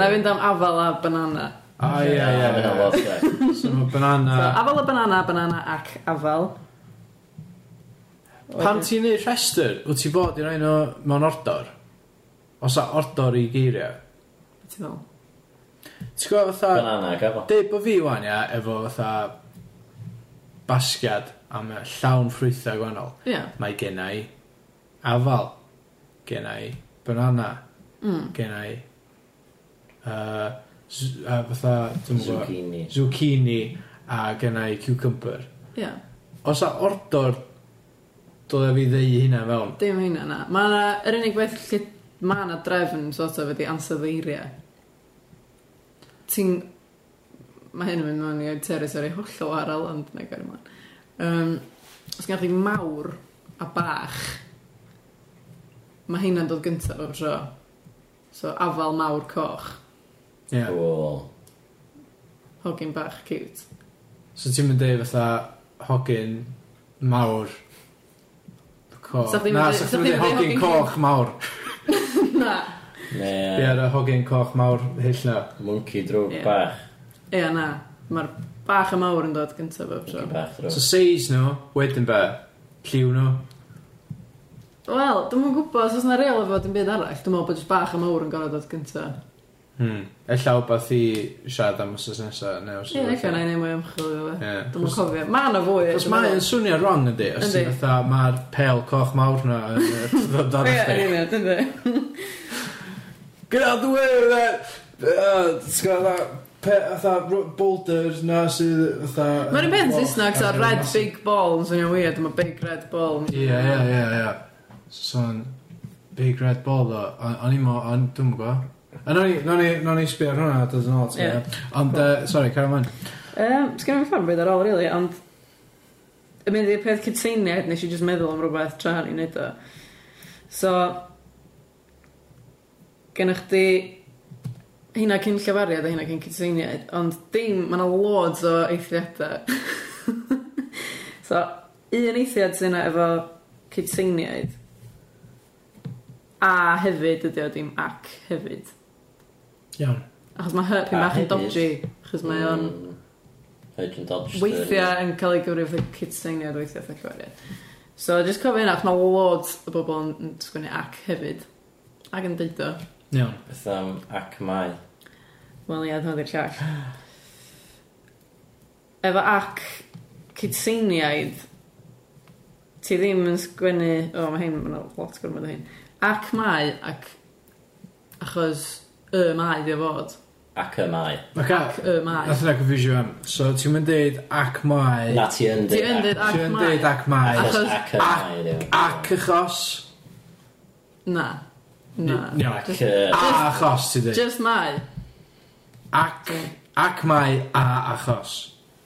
S3: Na fynd am afal a banana.
S1: O ia,
S2: Mae'n
S1: ia,
S2: lot gwell.
S1: ia. So mae
S3: So,
S1: banana...
S3: afal a banana, banana ac afal.
S1: Pan ti'n neud rhestr, wyt ti bod i'r ein o mewn ordor? Os a ordor i geiriau?
S3: Ti'n fel?
S1: Ti'n gwybod fatha...
S2: Banana, gafo.
S1: Deud bod fi wan ia, efo fatha basgiad a mae llawn ffrwythau gwahanol.
S3: Ie.
S1: Mae genna i afal, genna i banana, mm. genna i uh, z- uh, fatha, dwi'n gwybod,
S2: Zucchini.
S1: zucchini a genna i cucumber.
S3: Ie.
S1: Os a ordor, dod fi ddeu hynna fewn.
S3: Dim hynna na. Mae yna, yr unig beth lle mae yna drefn sort of ydi ansoddeiriau. Ti'n... Mae hyn yn mynd mewn i territory hollol wahanol, ond na gair ymlaen. Um, os gennych chi mawr a bach, mae hynna'n dod gyntaf o'r tro. So afal mawr coch,
S1: Yeah.
S2: Cool.
S3: hogyn bach cute.
S1: So ti'n mynd deud fatha hogyn mawr coch.
S3: Sa chdi'n
S1: Na,
S3: mynd-
S1: sa
S3: sa
S1: chdi'n mynd deud
S3: chdi'n mynd
S1: hogyn
S3: hogyn
S1: coch mawr.
S3: na.
S1: Be
S2: Ne,
S1: ar y hogyn coch mawr hyll na.
S2: monkey drwg
S3: Ie.
S2: bach.
S3: Ie, na. Mae'r bach a mawr yn dod gyntaf o'r tro.
S2: Monkey bach
S1: So
S2: drwg.
S1: seis nhw, wedyn be, lliw nhw.
S3: Wel, dwi'm yn gwybod, os oes yna reol efo dim byd arall, dwi'n meddwl bod jyst bach a mawr yn gorau dod gyntaf.
S1: Hmm. Ella o beth i siarad am ysos nesaf. Ie,
S3: Ie, eich o'n ein mwy ymchwil i fe. Dwi'n mwyn
S1: Ie.
S3: cofio. Mae yna fwy.
S1: Os
S3: dwi'n
S1: mae yn
S3: meddwl.
S1: swnio wrong ydy, os ti'n
S3: Yndi.
S1: fatha mae'r pel coch mawr na yn yy, dod ar
S3: Ie, yn
S1: eich
S3: union, yndi.
S1: Get out the way with that! Uh, T'w gwybod, fatha ro- boulders na sydd fatha...
S3: Mae'n un peth
S1: Coch
S3: yn Saesneg, so
S1: ar y uh,
S3: red
S1: massive-
S3: big ball yn swnio weird, mae big red ball.
S1: Ie, ie, ie, ie. So, son, big red ball, ddo. O- O'n i'n mo, o'n dwi'n gwa. A nawn ni- nawn ni, nawn ni sbio ar hwnna, dod yn ôl. ti'n
S3: Ie.
S1: gwbod. Ond, yy, sori, car ymlaen.
S3: Yym, Sgynna fi ffordd beth ar ôl, really, ond... Y mynd i'r peth cytseiniad, nes i just meddwl am rhywbeth tra ni'n neud o. So... Gennych chdi... Hynna cyn llefariad a hynna cyn cytseiniad, ond dim, mae yna loads o eithriadau. so, un eithriad sy'n yna efo cytseiniad. A hefyd ydi o dim ac hefyd.
S1: Iawn.
S3: Achos mae hypyn
S2: A
S3: bach yn
S2: hefyd.
S3: dodgy. Achos mae o'n...
S2: Mm. Agent Dodge.
S3: weithiau yn cael ei gyfri fatha cytseiniad weithiau fatha cyfariad. So, just cofio hynna, achos mae loads o bobl yn- yn sgwennu ac hefyd. Ac yn deud o.
S1: Iawn.
S2: Beth am ac mai.
S3: Wel, ia, dyma di'r llall. Efo ac cytseiniaid, ti ddim yn sgwennu... O, mae hyn, mae'n lot gormod o hyn. Ac mae, ac... Achos y mae di o fod.
S2: Ac y mai.
S3: Ac y mae.
S1: Nath yna confusio am. So, ti'n mynd deud ac mae.
S2: Na ti yn
S3: Ti
S2: deud.
S3: yn deud ac
S1: Ti'n
S3: mae.
S1: deud ac mae.
S3: Achos-
S2: Achos ac y
S1: ac-
S2: mai. ydi o.
S1: Ac achos.
S3: Na. Na.
S1: Iawn.
S2: Ac y...
S1: A achos, ti'n deud.
S3: Just mae.
S1: Ac, ac mae a achos.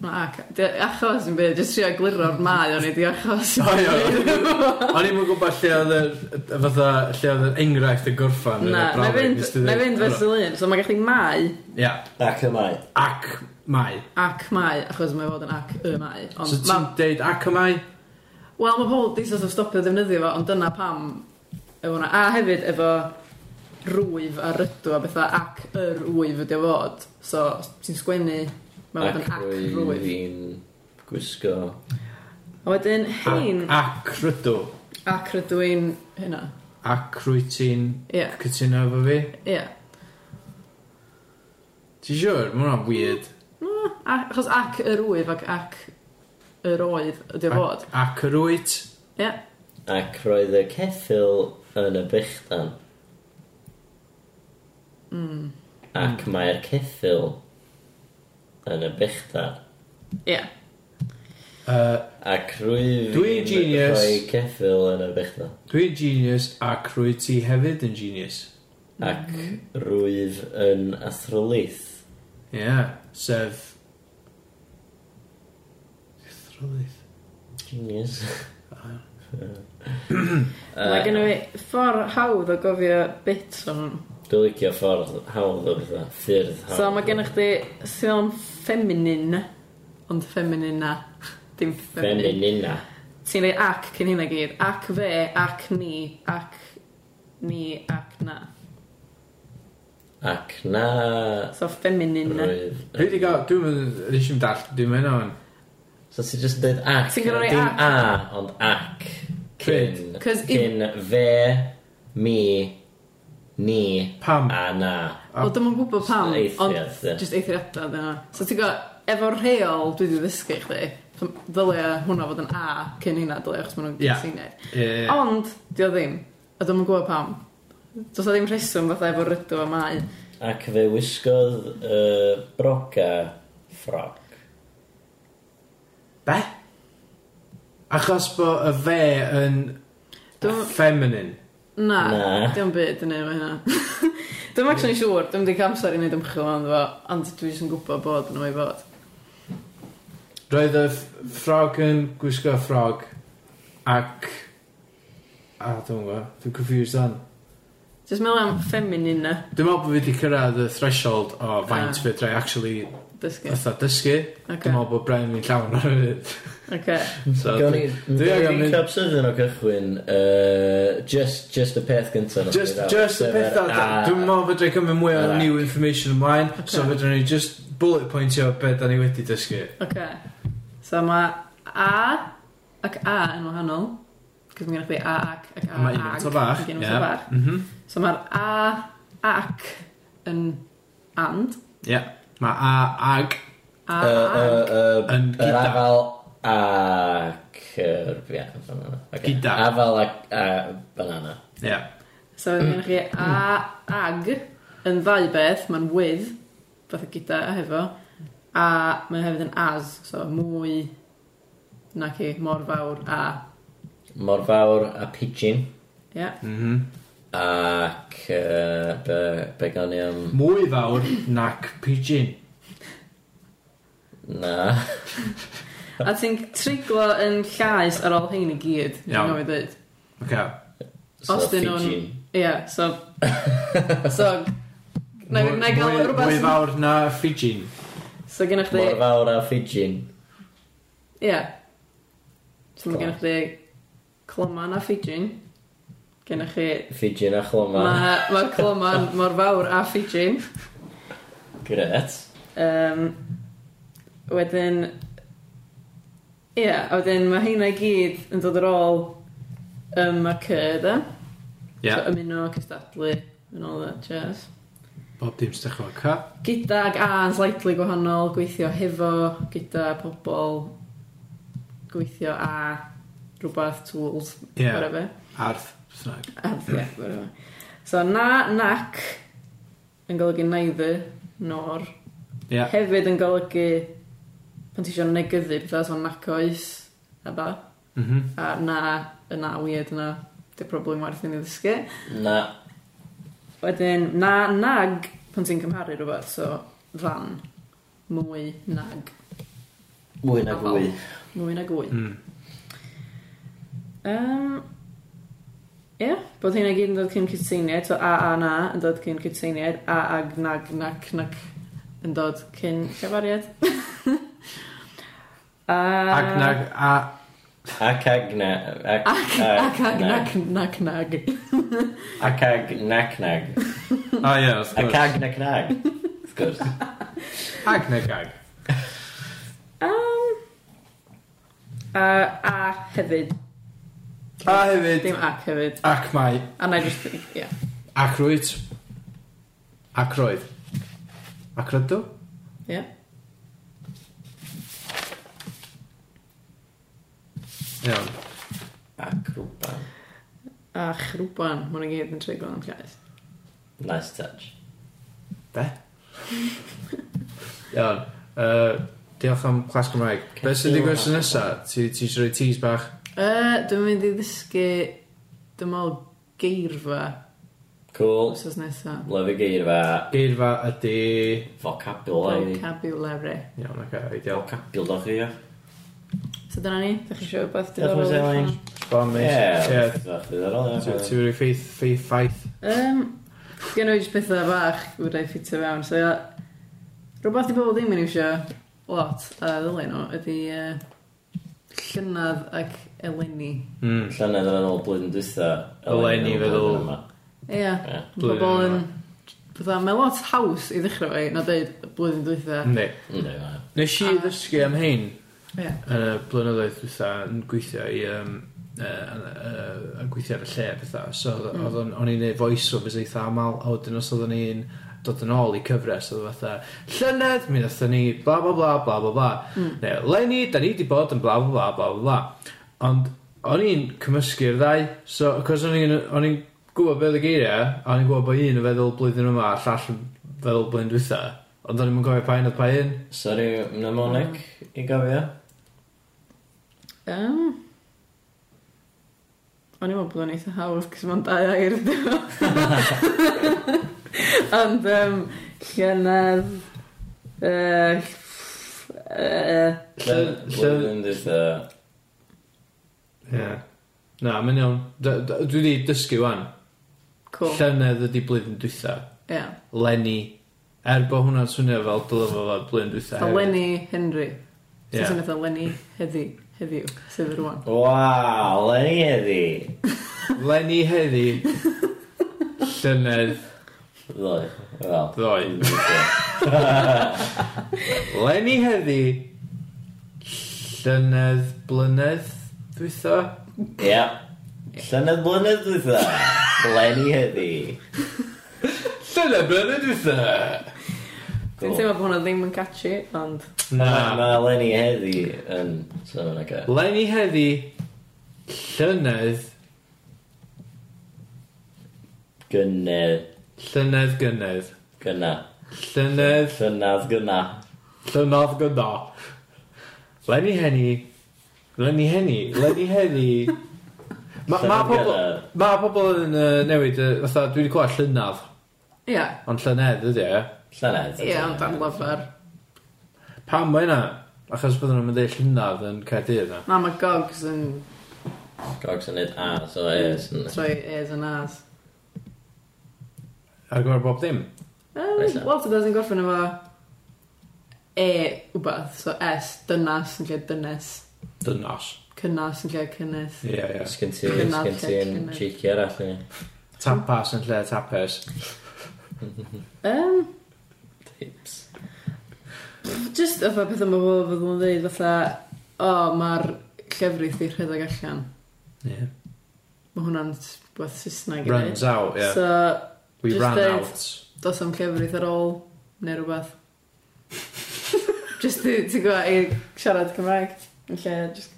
S3: Mae ac... di- Achos yn byd, jyst trio
S1: Mm.
S3: gliro'r mae o'n i di achos.
S1: O, iawn. O'n i'n gwybod lle oedd yr, y- fatha, lle oedd yr enghraifft y gorffan. yn y
S3: Na, na
S1: brawddeg,
S3: fynd,
S1: nes ti
S3: na
S1: ddeud.
S3: fynd fers y lun. So mae gallu mae
S1: Ia.
S2: Ac y mai.
S1: Ac mae.
S3: ac mae, achos mae fod yn ac y mae. Ond
S1: So ti'n
S3: ma-
S1: deud ac y mae?
S3: Wel, mae pobl di sort of stopio ddefnyddio fo, ond dyna pam efo hwnna. A hefyd efo rwyf a rydw a bethau ac yr wyf ydi o fod. So, os ti'n sgwennu, mae'n fod yn ac rwyf.
S2: fi'n gwisgo.
S3: A wedyn, hein,
S1: Ac rydw.
S3: ac rydw i'n hynna.
S1: Ac rwy ti'n
S3: Ie,
S1: cytuno efo fi?
S3: ie.
S1: Ti'n siwr? Mae hwnna'n weird.
S3: Ac- Achos ac yr wyf ac ac yr oedd ydi o fod.
S1: Ac- Ac yr wyt?
S3: Ie,
S2: Ac roedd y ceffil yn y bychdan.
S3: Hmm.
S2: Mm. Ac mae'r ceffil yn y bychdan.
S3: ie.
S1: Uh,
S2: Ac rwyf
S1: Dwi'n genius.
S2: rhoi ceffil yn y bychdan.
S1: Dwi'n genius ac rwy ti hefyd yn genius.
S2: Ac
S3: Hmm.
S2: rwyf yn athrolith.
S1: Ie, yeah, sef... Ethrolydd.
S2: Genius.
S3: Mae gen i ffordd hawdd o gofio bits o'n hwn.
S2: Dwi'n licio ffordd hawdd o bethau. Ffyrdd hawdd.
S3: So, mae gen i chdi sydd o'n ffeminin, ond ffeminin na. Dim ffeminin.
S2: Feminina.
S3: Ti'n rei ac cyn hynna gyd. Ac fe, ac ni, ac ni, ac na.
S2: Ac na...
S3: So, ffeminin na.
S2: Rwyf.
S1: Rwy di gael, dwi'n mynd, rydych chi'n dall, dwi'n mynd o'n...
S2: So ti'n just dweud ac.
S3: Ti'n gorfod roi
S2: Dim
S3: ac.
S2: a, ond ac. Cyn.
S1: Pryd.
S3: 'Cause i-
S2: Cyn fe, mi, ni,
S1: Pam.
S2: a na.
S3: O, dwi'n yn gwybod pam,
S2: Eithriad,
S3: ond
S2: ie.
S3: just eithriadau dyna. So ti'n go, efo rheol dwi wedi ddysgu i chdi, th- ddylia hwnna fod yn A cyn hynna dylia, achos maen nhw'n
S1: Ie.
S3: gysyniad.
S1: Ie.
S3: Ond, di o ddim, a dwi'n yn gwybod pam. Does o ddim rheswm fatha efo rydw a mae.
S2: Ac fe wisgodd uh, broca ffrog.
S1: Be? Achos bod y fe yn
S3: Dwi'n...
S1: feminine.
S3: Na,
S2: Na.
S3: dwi'n byd yn efo hynna. Dwi'n actually siŵr, dwi'n wedi amser i wneud ymchwil ond efo, ond dwi jyst yn gwybod bod yn ei fod.
S1: Roedd y ff- ffrog yn gwisgo ffrog ac... A, dwi'n gwybod, dwi'n confused dan.
S3: Just meddwl am ffeminin na,
S1: Dwi'n meddwl bod fi wedi cyrraedd y threshold o faint
S3: Ah.
S1: fe drai actually
S3: dysgu.
S1: fatha dysgu.
S3: Oce,
S1: Dwi'n meddwl bod brain fi'n llawn ar y
S3: oce.
S1: So,
S2: Gawn ni...
S1: dwi angen
S2: Dwi'n
S1: mynd-
S2: cap syddyn o cychwyn. Uh, just, just y peth gyntaf.
S1: Just, just y peth da, dwi'n meddwl fydra i cymryd mwy o
S2: Alright.
S1: new information ymlaen, so fydra ni just bullet pointio be da ni wedi dysgu.
S3: Oce. So mae A ac A yn wahanol. Cos mae gennych chi A ac ac A
S1: A mae unwaith o bach.
S3: ac unwaith
S1: ie.
S3: o bach.
S1: Mhm.
S3: So mae'r A ac yn and.
S1: Ie. Mae a ag
S3: A ac.
S2: Yn
S1: Yn
S2: Yr
S1: gyda.
S2: afal ac... yr- Ie, banana. Ocê.
S1: Gyda.
S2: Afal ac a banana.
S1: Ie.
S3: So
S2: Mm.
S3: mae gennych chi A ag yn ddau beth. Mae'n with. Fath o gyda a hefo. A mae hefyd yn as. So mwy na chi. Mor fawr a.
S2: Mor fawr a pigeon.
S3: Ie.
S1: Mhm.
S2: Ac yy, be, be gawn ni am...
S1: Mwy fawr nac pigeon.
S2: Na.
S3: A ti'n triglo yn llais ar ôl hyn i gyd.
S1: Iawn.
S3: Iawn. Iawn.
S1: Oce.
S2: So
S3: Os 'dyn nhw'n-
S2: pigeon.
S3: Ie, yeah, so... so... Na i na i gael
S1: Mwy- Mwy
S3: rhywbeth...
S1: fawr na pigeon.
S3: So gennych chdi...
S2: Mor fawr a pigeon.
S3: Ie. So mae
S2: Clon.
S3: gennych chdi... Cloman a Fijin. Gennych chi...
S2: Pigeon a chloma.
S3: Mae ma cloman mor fawr a Fijin.
S2: Gret.
S3: Um, wedyn... Ie, a wedyn mae heina i gyd yn dod ar ôl ym a cyrda.
S1: Ie.
S3: e? So ymuno, cystadlu, and all that jazz.
S1: Bob dim stech o'r ca.
S3: gyda ag a yn slightly gwahanol, gweithio hefo, gyda pobl, gweithio a rhywbeth, tools,
S1: Ie.
S3: whatever.
S1: Arth. Snag.
S3: Arth, ie, whatever. So na, nac, yn golygu neither, nor.
S1: Ie.
S3: Hefyd yn golygu, pan ti eisiau negyddu bethau, so nac oes, a ba.
S1: Mhm.
S3: A na, y na weird yna, dy problem werth i ni ddysgu.
S2: Na.
S3: Wedyn, na, nag, pan ti'n cymharu rhywbeth, so fan, mwy, nag.
S2: Mwy na
S3: Afal.
S2: gwy.
S3: Mwy na gwy.
S1: Mm.
S3: Um, Ie, yeah, bod hynna gyd yn dod cyn cytseiniad, so a a na yn dod cyn cytseiniad, a ag nag nac nac yn dod cyn llafariad. a...
S1: Ac nag a
S2: Ac agna... Ac
S3: Ac, ac, ac, nac, nac, nac.
S2: Ac ag nac nag.
S1: Ah, ie, wrth
S2: Ac
S1: gwrs.
S2: ag nac nag. Of course.
S1: Ag neu gag.
S3: Um, a, a hefyd.
S1: A hefyd,
S3: Dim ac hefyd.
S1: ac mai,
S3: A na i just, ie. Yeah.
S1: ac rwyt, ac roedd. Ac rydw?
S3: Yeah.
S1: Iawn.
S2: Ac rwban.
S3: A chrwban, mae'n gyd yn treiglo yn llaeth.
S2: Nice touch.
S1: Be? Iawn. Uh, diolch am clas Cymraeg. Be sy'n digwydd sy'n nesa? Ti ti eisiau rhoi tease bach?
S3: Uh, dwi'n mynd i ddysgu, dwi'n meddwl, geirfa
S2: Cool.
S3: wrthos nesa.
S2: Love y geirfa.
S1: Geirfa ydy...
S2: Vocabulary.
S3: Vocabulary.
S1: Iawn, oce, okay, ideal.
S2: Vocabulary.
S3: So dyna ni, da chi eisiau beth
S2: Diolch yn fawr.
S3: diddorol?
S1: Bon,
S2: Ie.
S1: mate.
S2: Ie.
S1: Ie. Ti
S2: Diddorol,
S1: ti wedi ffeith, ffeith, ffaith.
S3: Um, Gen i jyst pethau fach wedi'i ffitio fewn, so ia, rhywbeth i bobl ddim yn iwsio lot a ddylai nhw ydy uh, llynydd ac eleni.
S1: Mm.
S2: ie. Llynedd yn ôl blwyddyn dwytha.
S1: Eleni feddwl.
S3: Ia,
S2: Ie.
S1: Blwyddyn
S3: pobl yn...
S1: yma.
S3: Bydda, mae lot haws i ddechrau fe, na dweud blwyddyn dwytha.
S1: Ne.
S2: Ynddi, mae.
S1: Nes i
S3: A-
S1: ddysgu am hyn
S3: Ie.
S1: yn y blynyddoedd dwi'n yn gweithio i um, uh, uh, yn gweithio ar y lle bethau. So oedd- oedd o'n- o'n i'n neud voiceovers eitha aml, a wedyn os oedden ni'n dod yn ôl i cyfres, oedd o fatha, llynedd, mi wnaethon ni, bla bla bla bla bla bla. Mm. Neu, leni, da ni wedi bod yn bla bla bla bla bla bla. Ond o'n i'n cymysgu'r ddau, so, cos o'n i'n o'n i'n gwybod beth y geiriau, a o'n i'n gwybod bod un yn feddwl blwyddyn yma, a llall yn feddwl blwyddyn dwytha. Ond o'n i'n gofio pa un oedd pa un.
S2: Sorry, mnemonic i gofio.
S3: Um, o'n i'n meddwl bod o'n eitha hawdd, cos mae'n dau air ydyn nhw. Ond, um, llynydd... Uh, uh,
S1: Llyn-
S2: Llynedd blwyddyn dwytha.
S1: Ie. Na, mae'n iawn. D- d- Dwi wedi dysgu wan.
S3: cool.
S1: Llynedd ydi blwyddyn dwytha.
S3: Yeah.
S1: Lenny. Er bod hwnna'n swnio fel dylo fo fel blwyddyn dwytha.
S3: A Lenny Henry.
S1: Ie.
S3: Yeah. Sa'n meddwl Lenny heddi, heddiw, sef yr wan.
S2: Waw, Lenny heddi.
S1: Lenny heddi. Llynedd
S2: Ddoe. Wel.
S1: ddoe. Lenny heddi. Llynedd blynedd dwytha.
S2: Ia. Llynedd blynedd dwytha. Lenny heddi.
S1: Llynedd blynedd dwytha.
S3: Dwi'n
S2: Cool.
S3: teimlo bod hwnna ddim yn catchy, ond...
S1: Na.
S2: Mae Lenny heddi yn sôn yn y gael.
S1: Lenny heddi. Llynedd.
S2: Gynnedd.
S1: Llynedd gynnedd.
S2: Gynna.
S1: Llynedd
S2: Llynedd gynna.
S1: Llynodd gyda. Lenny Henny. Lenny Henny. Lenny Henny. Mae ma
S2: Llynydd
S1: pobl...
S2: gynnar.
S1: Mae pobl yn uh, newid, uh, fatha, dwi wedi clywed llynaf,
S3: Ia, yeah.
S1: ond llynedd ydy e.
S2: Llynedd.
S3: ia, yeah, ond am lyfr.
S1: Pam mae yna? Achos bydden nhw'n mynd ei llynaf yn Caerdydd na.
S3: Na, mae Gogs yn
S2: Gogs yn neud A, so e. sy'n-
S3: troi ears and as.
S1: Ar gyfer bob dim.
S3: Um,
S2: Reit,
S3: lot o beth yn gorffen efo E wbath, so S, dynas yn lle dynes,
S1: Dynos.
S3: cynnas yn lle cynnes.
S1: Ie, yeah, ie. Yeah.
S2: Sgyn ti,
S3: Gynnar,
S2: sgyn ti yn
S3: gynnar.
S2: cheeky arall ni.
S1: Tapas yn lle tapes.
S3: Um,
S2: Tips.
S3: just efo pethau mae bobl fydd yn dweud fatha, o, mae'r llefrith i rhedeg allan.
S1: Yeah.
S3: Mae hwnna'n s- beth Saesneg i
S1: Runs out, ie. Yeah.
S3: So,
S1: We
S3: just
S1: ran
S3: deud-
S1: out.
S3: dos am llefrith ar ôl, neu rhywbeth. just i- ti'n gwybod, i siarad Cymraeg, yn lle just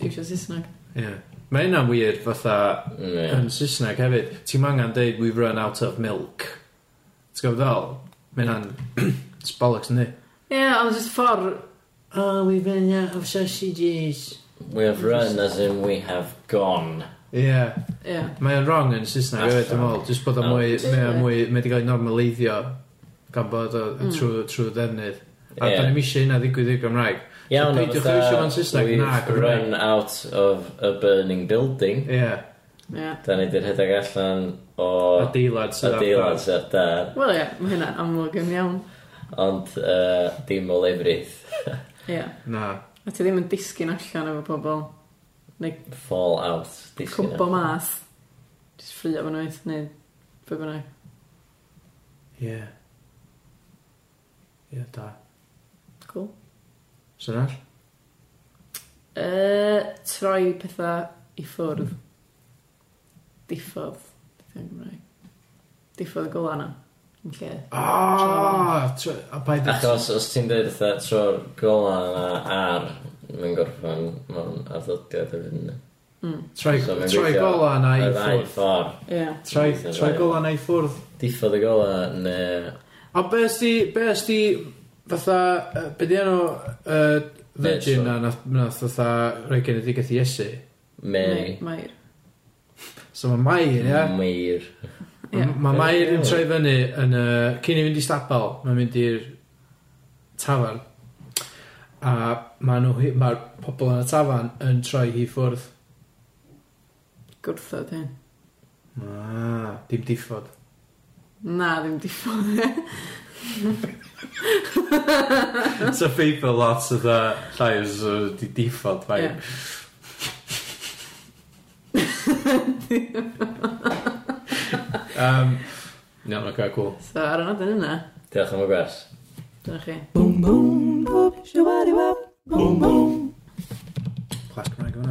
S3: eisiau Saesneg.
S1: Ie. Yeah. Mae hynna'n weird, fatha,
S2: Ie.
S1: Yn Saesneg hefyd, ti'n angen deud we've run out of milk. T'w gwybod fel? Mae hynna'n sbollocks yn di.
S3: Ie, yeah, ond just ffordd
S1: Oh, we've run out of sausages.
S2: We have run as in we have gone.
S1: Ie, yeah.
S3: Ie.
S1: mae'n wrong yn Saesneg hefyd, dwi'n meddwl. Jyst bod Hmm. o mwy,
S3: Oh.
S1: mae o mwy, mae wedi cael ei normaleiddio gan bod o trwy, trwy ddefnydd. A
S2: Ie.
S1: yeah. da ni'n eisiau hynna ddigwydd i'r Gymraeg.
S2: Iawn,
S1: So peidiwch â
S2: fatha,
S1: iwsio fo'n Saesneg,
S2: we've
S1: na, Gymraeg.
S2: run out of a burning building.
S1: Ie, yeah.
S3: Ie.
S2: Da ni wedi rhedeg allan o
S1: adeilad sydd ar
S2: adeilad
S1: bas.
S2: sy'n dar,
S3: Wel ie, mae hynna'n amlwg yn iawn.
S2: ond uh, dim o lefrith.
S3: Ie.
S1: Na.
S3: A ti ddim yn disgyn allan efo pobl. Neu
S2: Fall out. disgyn.
S3: cwmpo mas. Jyst ffrio fan oes, neu be bynnag.
S1: Ie. Ie, da.
S3: Cool.
S1: Sy'n all?
S3: Uh, troi pethau i ffwrdd. Diffodd. Beth yw'n Gymraeg? Diffodd y golana. Yn lle.
S1: Ah! tr- A by the...
S2: Achos os ti'n dweud eitha tro'r gola yna ar mae'n gorffan mewn addodiad hefyd yna.
S1: Troi
S2: So mae'n
S1: troi
S2: gweithio
S1: gola na i
S2: Y ddau
S1: ffwrdd.
S2: ffordd.
S3: Ie.
S1: Troi
S2: Gweithio'r
S1: troi
S2: ddau
S1: gola na i ffwrdd.
S2: Diffodd y gola neu...
S1: A be ysdi... Be ysdi... Fatha... yy, Be di enw... yy, Virgin
S2: Ned,
S1: na nath nath fatha rhoi genedigaeth i Iesu.
S2: Mary.
S3: Mair.
S1: So mae Mair, ia?
S2: Meir.
S3: Ie.
S1: M- Mae Mair yn
S2: Mm. Ie.
S1: troi fyny yn y... Cyn i fynd i stabal, mae'n mynd i'r tafan. A mae nhw... hi- Mae'r pobl yn y tafan yn troi hi ffwrdd.
S3: Gwrthod hyn.
S1: Ah, dim diffod.
S3: Na, ddim diffodd.
S1: It's a paper lot of the llais o di diffod fai.
S3: Ie.
S1: um, no, no, okay, cool.
S3: So, ar y nodyn yna,
S2: Diolch am y gwers.
S3: dyna chi.
S1: Clas Cymraeg yma,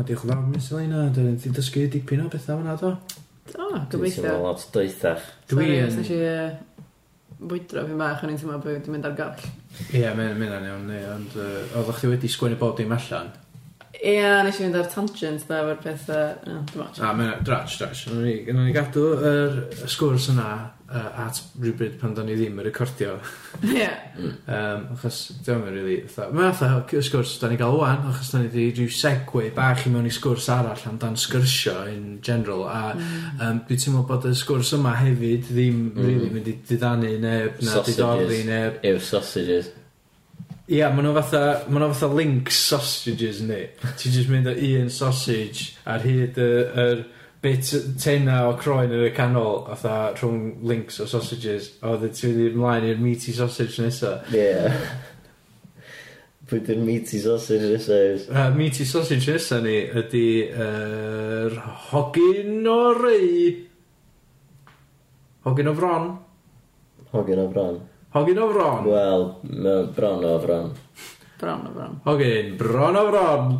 S1: diolch yn fawr, Miss Elena. Dwi'n di dysgu dipyn o bethau fyna, do.
S3: O,
S2: Dwi'n teimlo
S3: gobeithio.
S2: lot dwythach.
S1: Dwi
S3: Sorry, os
S1: yn...
S3: nes i uh, bwydro fi'n bach, o'n i'n teimlo bod dwi'n mynd ar gall.
S1: Ie, mae'n mynd â'n iawn, ie, ond yy, oeddech chi wedi sgwennu bob dim allan.
S3: Ie, nes i fynd ar tangent, da, efo'r pethau... No, dim ots.
S1: A mae'n drach, drach. Gwnawn ni- Gwnawn ni gadw yr y sgwrs yna uh, at rhywbryd pan do'n ni ddim yn recordio.
S3: Ie.
S1: Um, achos, diolch yn rili, really, mae'n atho y sgwrs da ni gael wan, achos da ni wedi rhyw segwe bach i mewn i sgwrs arall amdan sgyrsio in general, a
S3: Mm.
S1: um, dwi'n teimlo bod y sgwrs yma hefyd ddim mm. really mynd i diddannu neb, na
S2: Sausages.
S1: diddorddi neb.
S2: Yw sausages.
S1: Ia, maen nhw fatha, maen nhw fatha link sausages ni. Ti'n just mynd o un sausage ar hyd y, yr bit tenna o croen yn y canol, fatha rhwng links o sausages, a wedyn ti'n mynd i ymlaen i'r meaty sausage nesaf.
S2: Ie. Pwy dyn meaty sausage nesaf?
S1: Uh, meaty sausage nesaf ni ydy yr uh, hogyn o rei. Hogyn o fron.
S2: Hogyn o bron.
S1: Hogyn o fron.
S2: Wel, mae bron o bron.
S3: Bron o bron.
S1: Hogyn, bron o fron.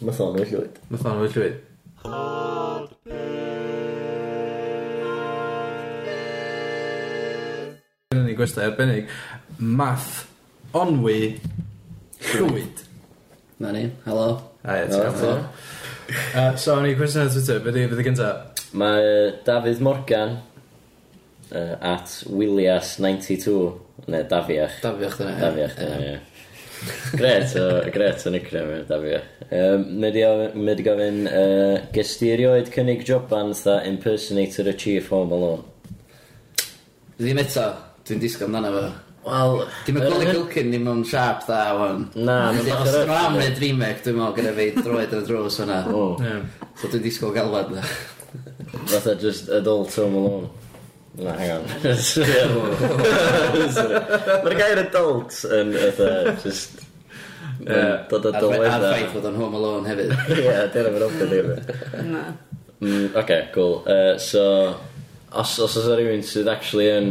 S2: Mae thon yn llwyd.
S1: Mae'n thon o'r llwyd. Gyda ni gwestiwn arbennig. Math onwy llwyd.
S7: Na ni, helo.
S1: A ie,
S2: O,
S1: ti'n
S2: ti'n-
S1: gwybod. Uh, So, ni gwestiwn ar Twitter, beth i fydd y gyntaf?
S2: Mae yy, Dafydd Morgan uh, at Willias92 neu Dafiach.
S7: Dafiach dyna. ie.
S2: Dafiach, dyna,
S7: Ie.
S2: ie. Gret o, gret o nickname yw Dafiach. Um, Mae di gofyn, uh, gest ti erioed cynnig joban tha impersonator y chief home alone?
S7: Ddim eto, dwi'n disgo amdano fo. Wel, dim y Golly
S2: yy,
S7: Culkin ddim yn sharp dda, wan.
S2: Na,
S7: Ond
S2: mae'n
S7: os
S2: dechrau-
S7: dwi'n am neu Dreamhack, dwi'n meddwl gyda fi droed yn y drws hwnna.
S2: O,
S7: So dwi'n disgo galwad dda.
S2: fatha just adult home alone. Na, hang on. Sorry. Mae'r gair adult yn fatha, just...
S1: Ie.
S2: Mae'n dod o
S7: A'r fe- a'r
S2: dylwedda.
S7: ffaith bod o'n Home Alone hefyd.
S2: Ie, dyna fe'n ofyn ddim.
S3: Na.
S2: Mm, okay, cool. Uh, so, os, os oes rhywun sydd actually yn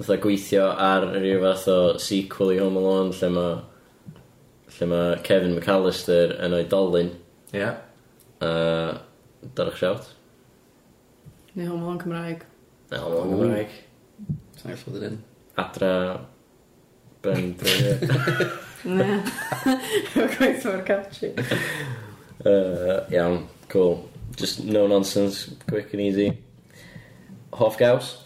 S2: fatha gweithio ar rhyw fath o sequel i Home Alone lle mae lle mae Kevin McAllister yn oedolyn
S1: Ie.
S2: uh, darach siawt
S3: Neu Home Alone Cymraeg.
S2: na Home Alone Gymraeg
S7: Sa'n gallu bod yn un.
S2: adra ben uh,
S3: Na. Efo gwaith o'r catchy.
S2: iawn, cool just no nonsense, quick and easy Hoff gaws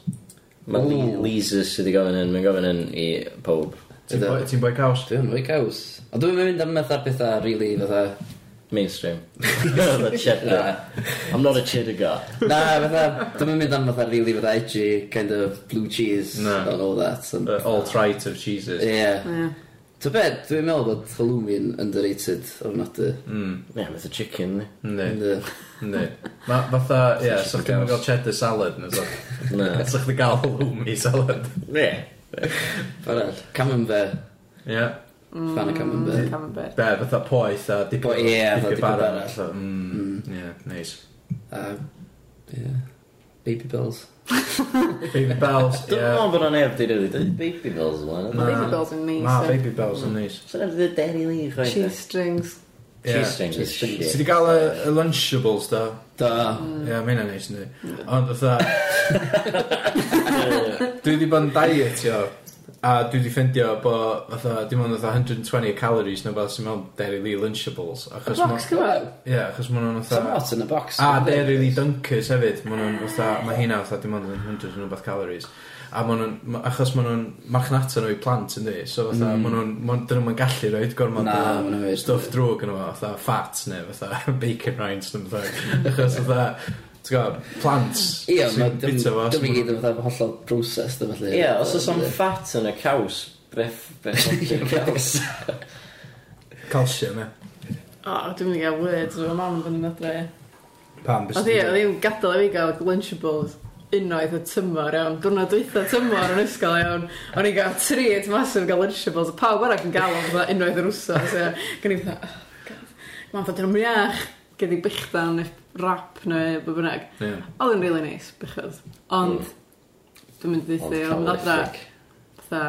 S2: Mae
S7: Ooh.
S2: Lisa sydd i gofyn yn, mae'n gofyn yn i pob
S1: Ti'n boi- ti'n boi caws?
S7: Dwi'n fwy caws. Ond dwi'n mynd am fatha pethau, really, fatha...
S2: Mainstream. Fatha cheddar. I'm not a cheddar guy.
S7: Na, fatha, dwi'n mynd am fatha, really, fatha edgy, kind of blue cheese,
S1: Na.
S7: and all that. and-
S1: Uh, All trite of cheeses.
S7: Ie.
S3: Ie.
S7: Ta bed, dwi'n meddwl bod halloumi'n underrated ofnadwy.
S1: Mm,
S2: Ie, yeah, a chicken. ni.
S1: Ne,
S7: Ynddi.
S1: ne. Ma- Fatha, ie, so chdi'n mynd gael cheddar salad na so.
S2: Na.
S1: So chdi gael halloumi salad.
S2: Ie.
S7: Farall, Camembert,
S1: Ie.
S7: Fan o Camembert.
S3: Mm, Camembert.
S1: Be, fatha poeth a dipyn
S7: Po- ie, fatha dipyn
S1: bara.
S7: bara.
S1: So, mm, Ie, neis.
S7: A, ie, baby bells.
S1: Baby bells,
S2: Dwi'n
S1: ie.
S2: meddwl bod o'n neb di rili dweud baby bells yma.
S1: Na.
S3: Baby bells yn neis.
S1: Na,
S3: eh?
S1: baby bells yn neis.
S2: Sa'n neb di dweud Dairy Lee, chwaith. eh?
S3: Cheese strings.
S1: Ie.
S2: Cheese strings.
S7: Cheese strings.
S1: Ti di gael y y Lunchables, da?
S7: Da.
S1: Ie, mae hynna'n neis, yndi. Ond fatha... dwi wedi bod yn diet, yo. A dwi wedi ffeindio bod, fatha, dim ond fatha 120 calories na bod sy'n mewn Dairy Lee Lunchables. Achos ma-
S3: Box gyma.
S1: Ie, achos ma' nhw'n
S7: Some
S1: fatha...
S7: hot in a box.
S1: A Dairy Lee Ah, Dunkers hefyd, ma' nhw'n fatha, ma' hynna fatha dim ond yn 100 yn rhywbeth calories. A ma' nhw'n, ma- achos ma' nhw'n marchnata nhw i plant yndi, so fatha, ma' nhw'n, ma' dyn nhw'n gallu roed gormod
S7: Mm. Na,
S1: o
S7: ma' nhw'n
S1: stuff drwg yn efo, fatha fat neu fatha bacon rinds neu fatha, achos fatha, ti'n gwybod, plant
S7: Ie, ma'
S1: sy'n
S7: dim
S1: bita fo.
S7: dim i gyd yn fatha hollol broses, dy felly.
S2: Ie, os oes o'n fat yn y caws, bref, bref, caws.
S1: Calcium, e.
S3: O, dwi'n mynd i gael words. Mae mam yn fynd yn adre.
S1: Pam, bys
S3: Oedd hi, oedd hi'n gadael i fi gael Lunchables unwaith y tymor iawn. Dwi'n dweitha tymor yn ysgol iawn. O'n i'n gael treat masif gael Lunchables. Pawb arall yn gael o'n fatha unwaith yr wsos. ia. Gan i fatha, "Oh, God." mae'n fatha dyn nhw'n iach. Gyd i bychdan neu rap neu be bynnag.
S1: Ie.
S3: Oedd yn really neis, bychod. Ond, dwi'n mynd i ddeitha, o'n mynd adra, fatha,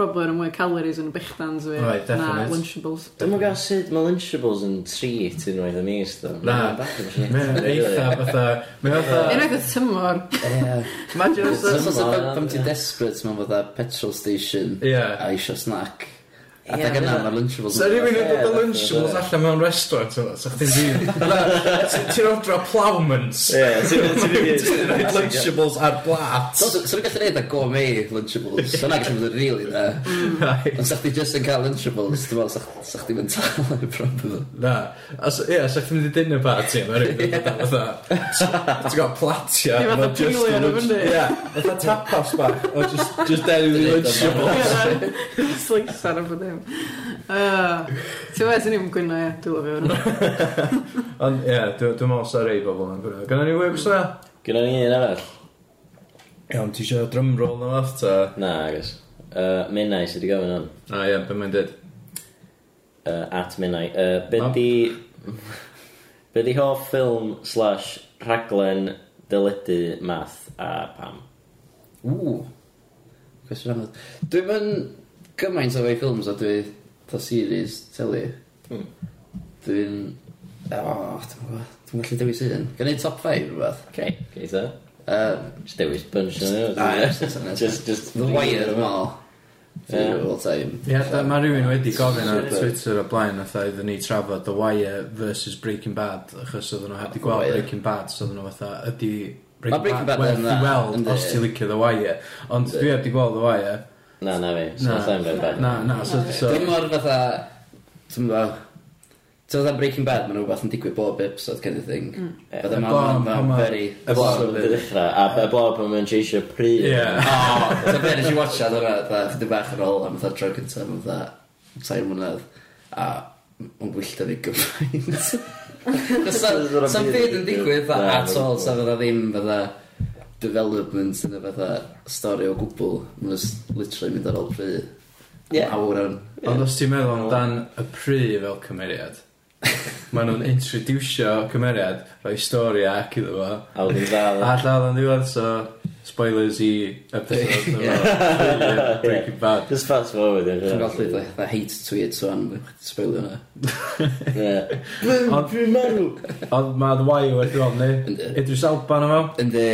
S3: probably yn mwy calories yn y bychdans fi
S1: Right,
S3: na
S1: definite.
S3: Lunchables.
S2: Dwi'n mwyn gael sut mae Lunchables yn treat unwaith y mis, dda.
S1: Na. Mae'n eitha fatha, mae'n fatha,
S3: Unwaith y tymor,
S7: Ie.
S1: imagine os
S7: Os
S1: oes-
S7: oes o'n pam ti'n desperate, mae'n fatha petrol station.
S1: Ie.
S7: A eisiau snack. A
S2: Ie,
S7: dag yna,
S2: ma'
S7: mae Lunchables
S1: So rhywun yn dod o
S2: Ie,
S1: Lunchables
S2: ie.
S1: allan mewn restaurant yma, so chdi'n di... Na, ti- Ti'n odro plowmans.
S2: Ie, ti'n
S1: Ti'n
S2: mynd
S1: rhaid Lunchables ar blat.
S7: So, so ni'n gallu neud a gourmet Lunchables. So na gallu bod yn really da. Ond sa'ch ti just yn cael Lunchables, dwi'n meddwl sa'ch- sa'ch ti'n mynd tal yn y problem.
S1: Na. Os- Ie, so chdi'n mynd i dinner party yma, rhywun yn dod o fatha... Ti'n gael platia.
S3: Ie, fatha
S1: ma' just yn
S3: pillion o fyny.
S1: Ie, fatha tapas bach. O, just- just deri the
S7: Dwi'n neud o
S1: Lunchables.
S3: Sleisar o bod dim. Ti'n fes yn i'n gwyno, ie, dwi'n lyfio hwnna.
S1: Ond ie, dwi- dwi'n meddwl sa'r rei bobl yn gwneud. Gynna ni web syna?
S2: Gwna ni un arall?
S1: Iawn, ti eisiau drumroll yma ta?
S2: Na, agos. Uh, Minnau sydd wedi gofyn hwn.
S1: A ie, beth mae'n dweud?
S2: Uh, at Minnau. Uh, be
S1: Mam.
S2: di... Be di hoff ffilm slash rhaglen dyledu math a pam?
S7: Ww. Cwestiwn anodd. Dwi'n mynd gymaint o fei ffilms a dwi ta series teli.
S2: Hmm.
S7: Dwi'n... O, dwi'n gwybod. Dwi'n gallu dewis un. Gan i top 5 rhywbeth.
S2: Okay, geitha.
S7: Uh,
S2: e? Just dewis bunch yn
S7: Ah, ie,
S2: yna.
S7: just-
S2: Just, just...
S7: The Wire yn ôl.
S2: Ie.
S7: Dwi'n all time.
S1: Ie, yeah, mae rhywun wedi gofyn ar Twitter o blaen a thaid ni trafod The Wire versus Breaking Bad achos oedden nhw wedi gweld
S7: Wire.
S1: Breaking Bad so oedden nhw fatha ydy
S7: Ma' Breaking Bad
S1: werth
S7: yn
S1: i
S7: dda,
S1: weld
S7: yndi.
S1: os ti'n licio The Wire ond dwi wedi gweld The Wire
S2: Na, na fi. So, tha'n bad bad.
S1: na, na, so, so
S7: Dwi'n mor fatha... Dwi'n mor... Ti'n fatha Breaking Bad, mae'n rhywbeth yn digwydd bob episode kind of thing. But
S1: Y
S7: the
S1: blaen pan
S7: man
S1: ma-
S7: ma'n very...
S1: y blaen.
S2: Blob Hmm. yn ddechrau, a y blob yn mynd eisiau pryd.
S1: ie
S7: O, ta be nes i watcha dyna, dda, chyddi bach ar ôl am dda tro cyntaf, am dda, tair mwynedd, a yn gwyllta fi gyfaint. Sa'n byd yn digwydd, dda,
S2: Na,
S7: at all, sa fydda ddim, fydda, development yn y fydda stori o gwbl, mae'n just literally mynd ar ôl pry.
S2: Ie.
S7: Am Awr yn.
S1: ond os ti'n meddwl amdan y pry fel cymeriad maen nhw'n introducio cymeriad rhoi stori ac iddo fo
S2: A wedyn
S1: a
S2: dal.
S1: lladd yn diwedd so spoilers i episode o Breaking Bad
S2: Just fast forward. ie.
S7: Dwi'n gallu dda, dda hate tweet o'n sbwylio hwnna.
S2: Ie.
S1: Ond dwi'n marw. Ond mae The Wire wedi gweld ni.
S7: Yndi.
S1: Idris Elba na fo.
S7: Yndi,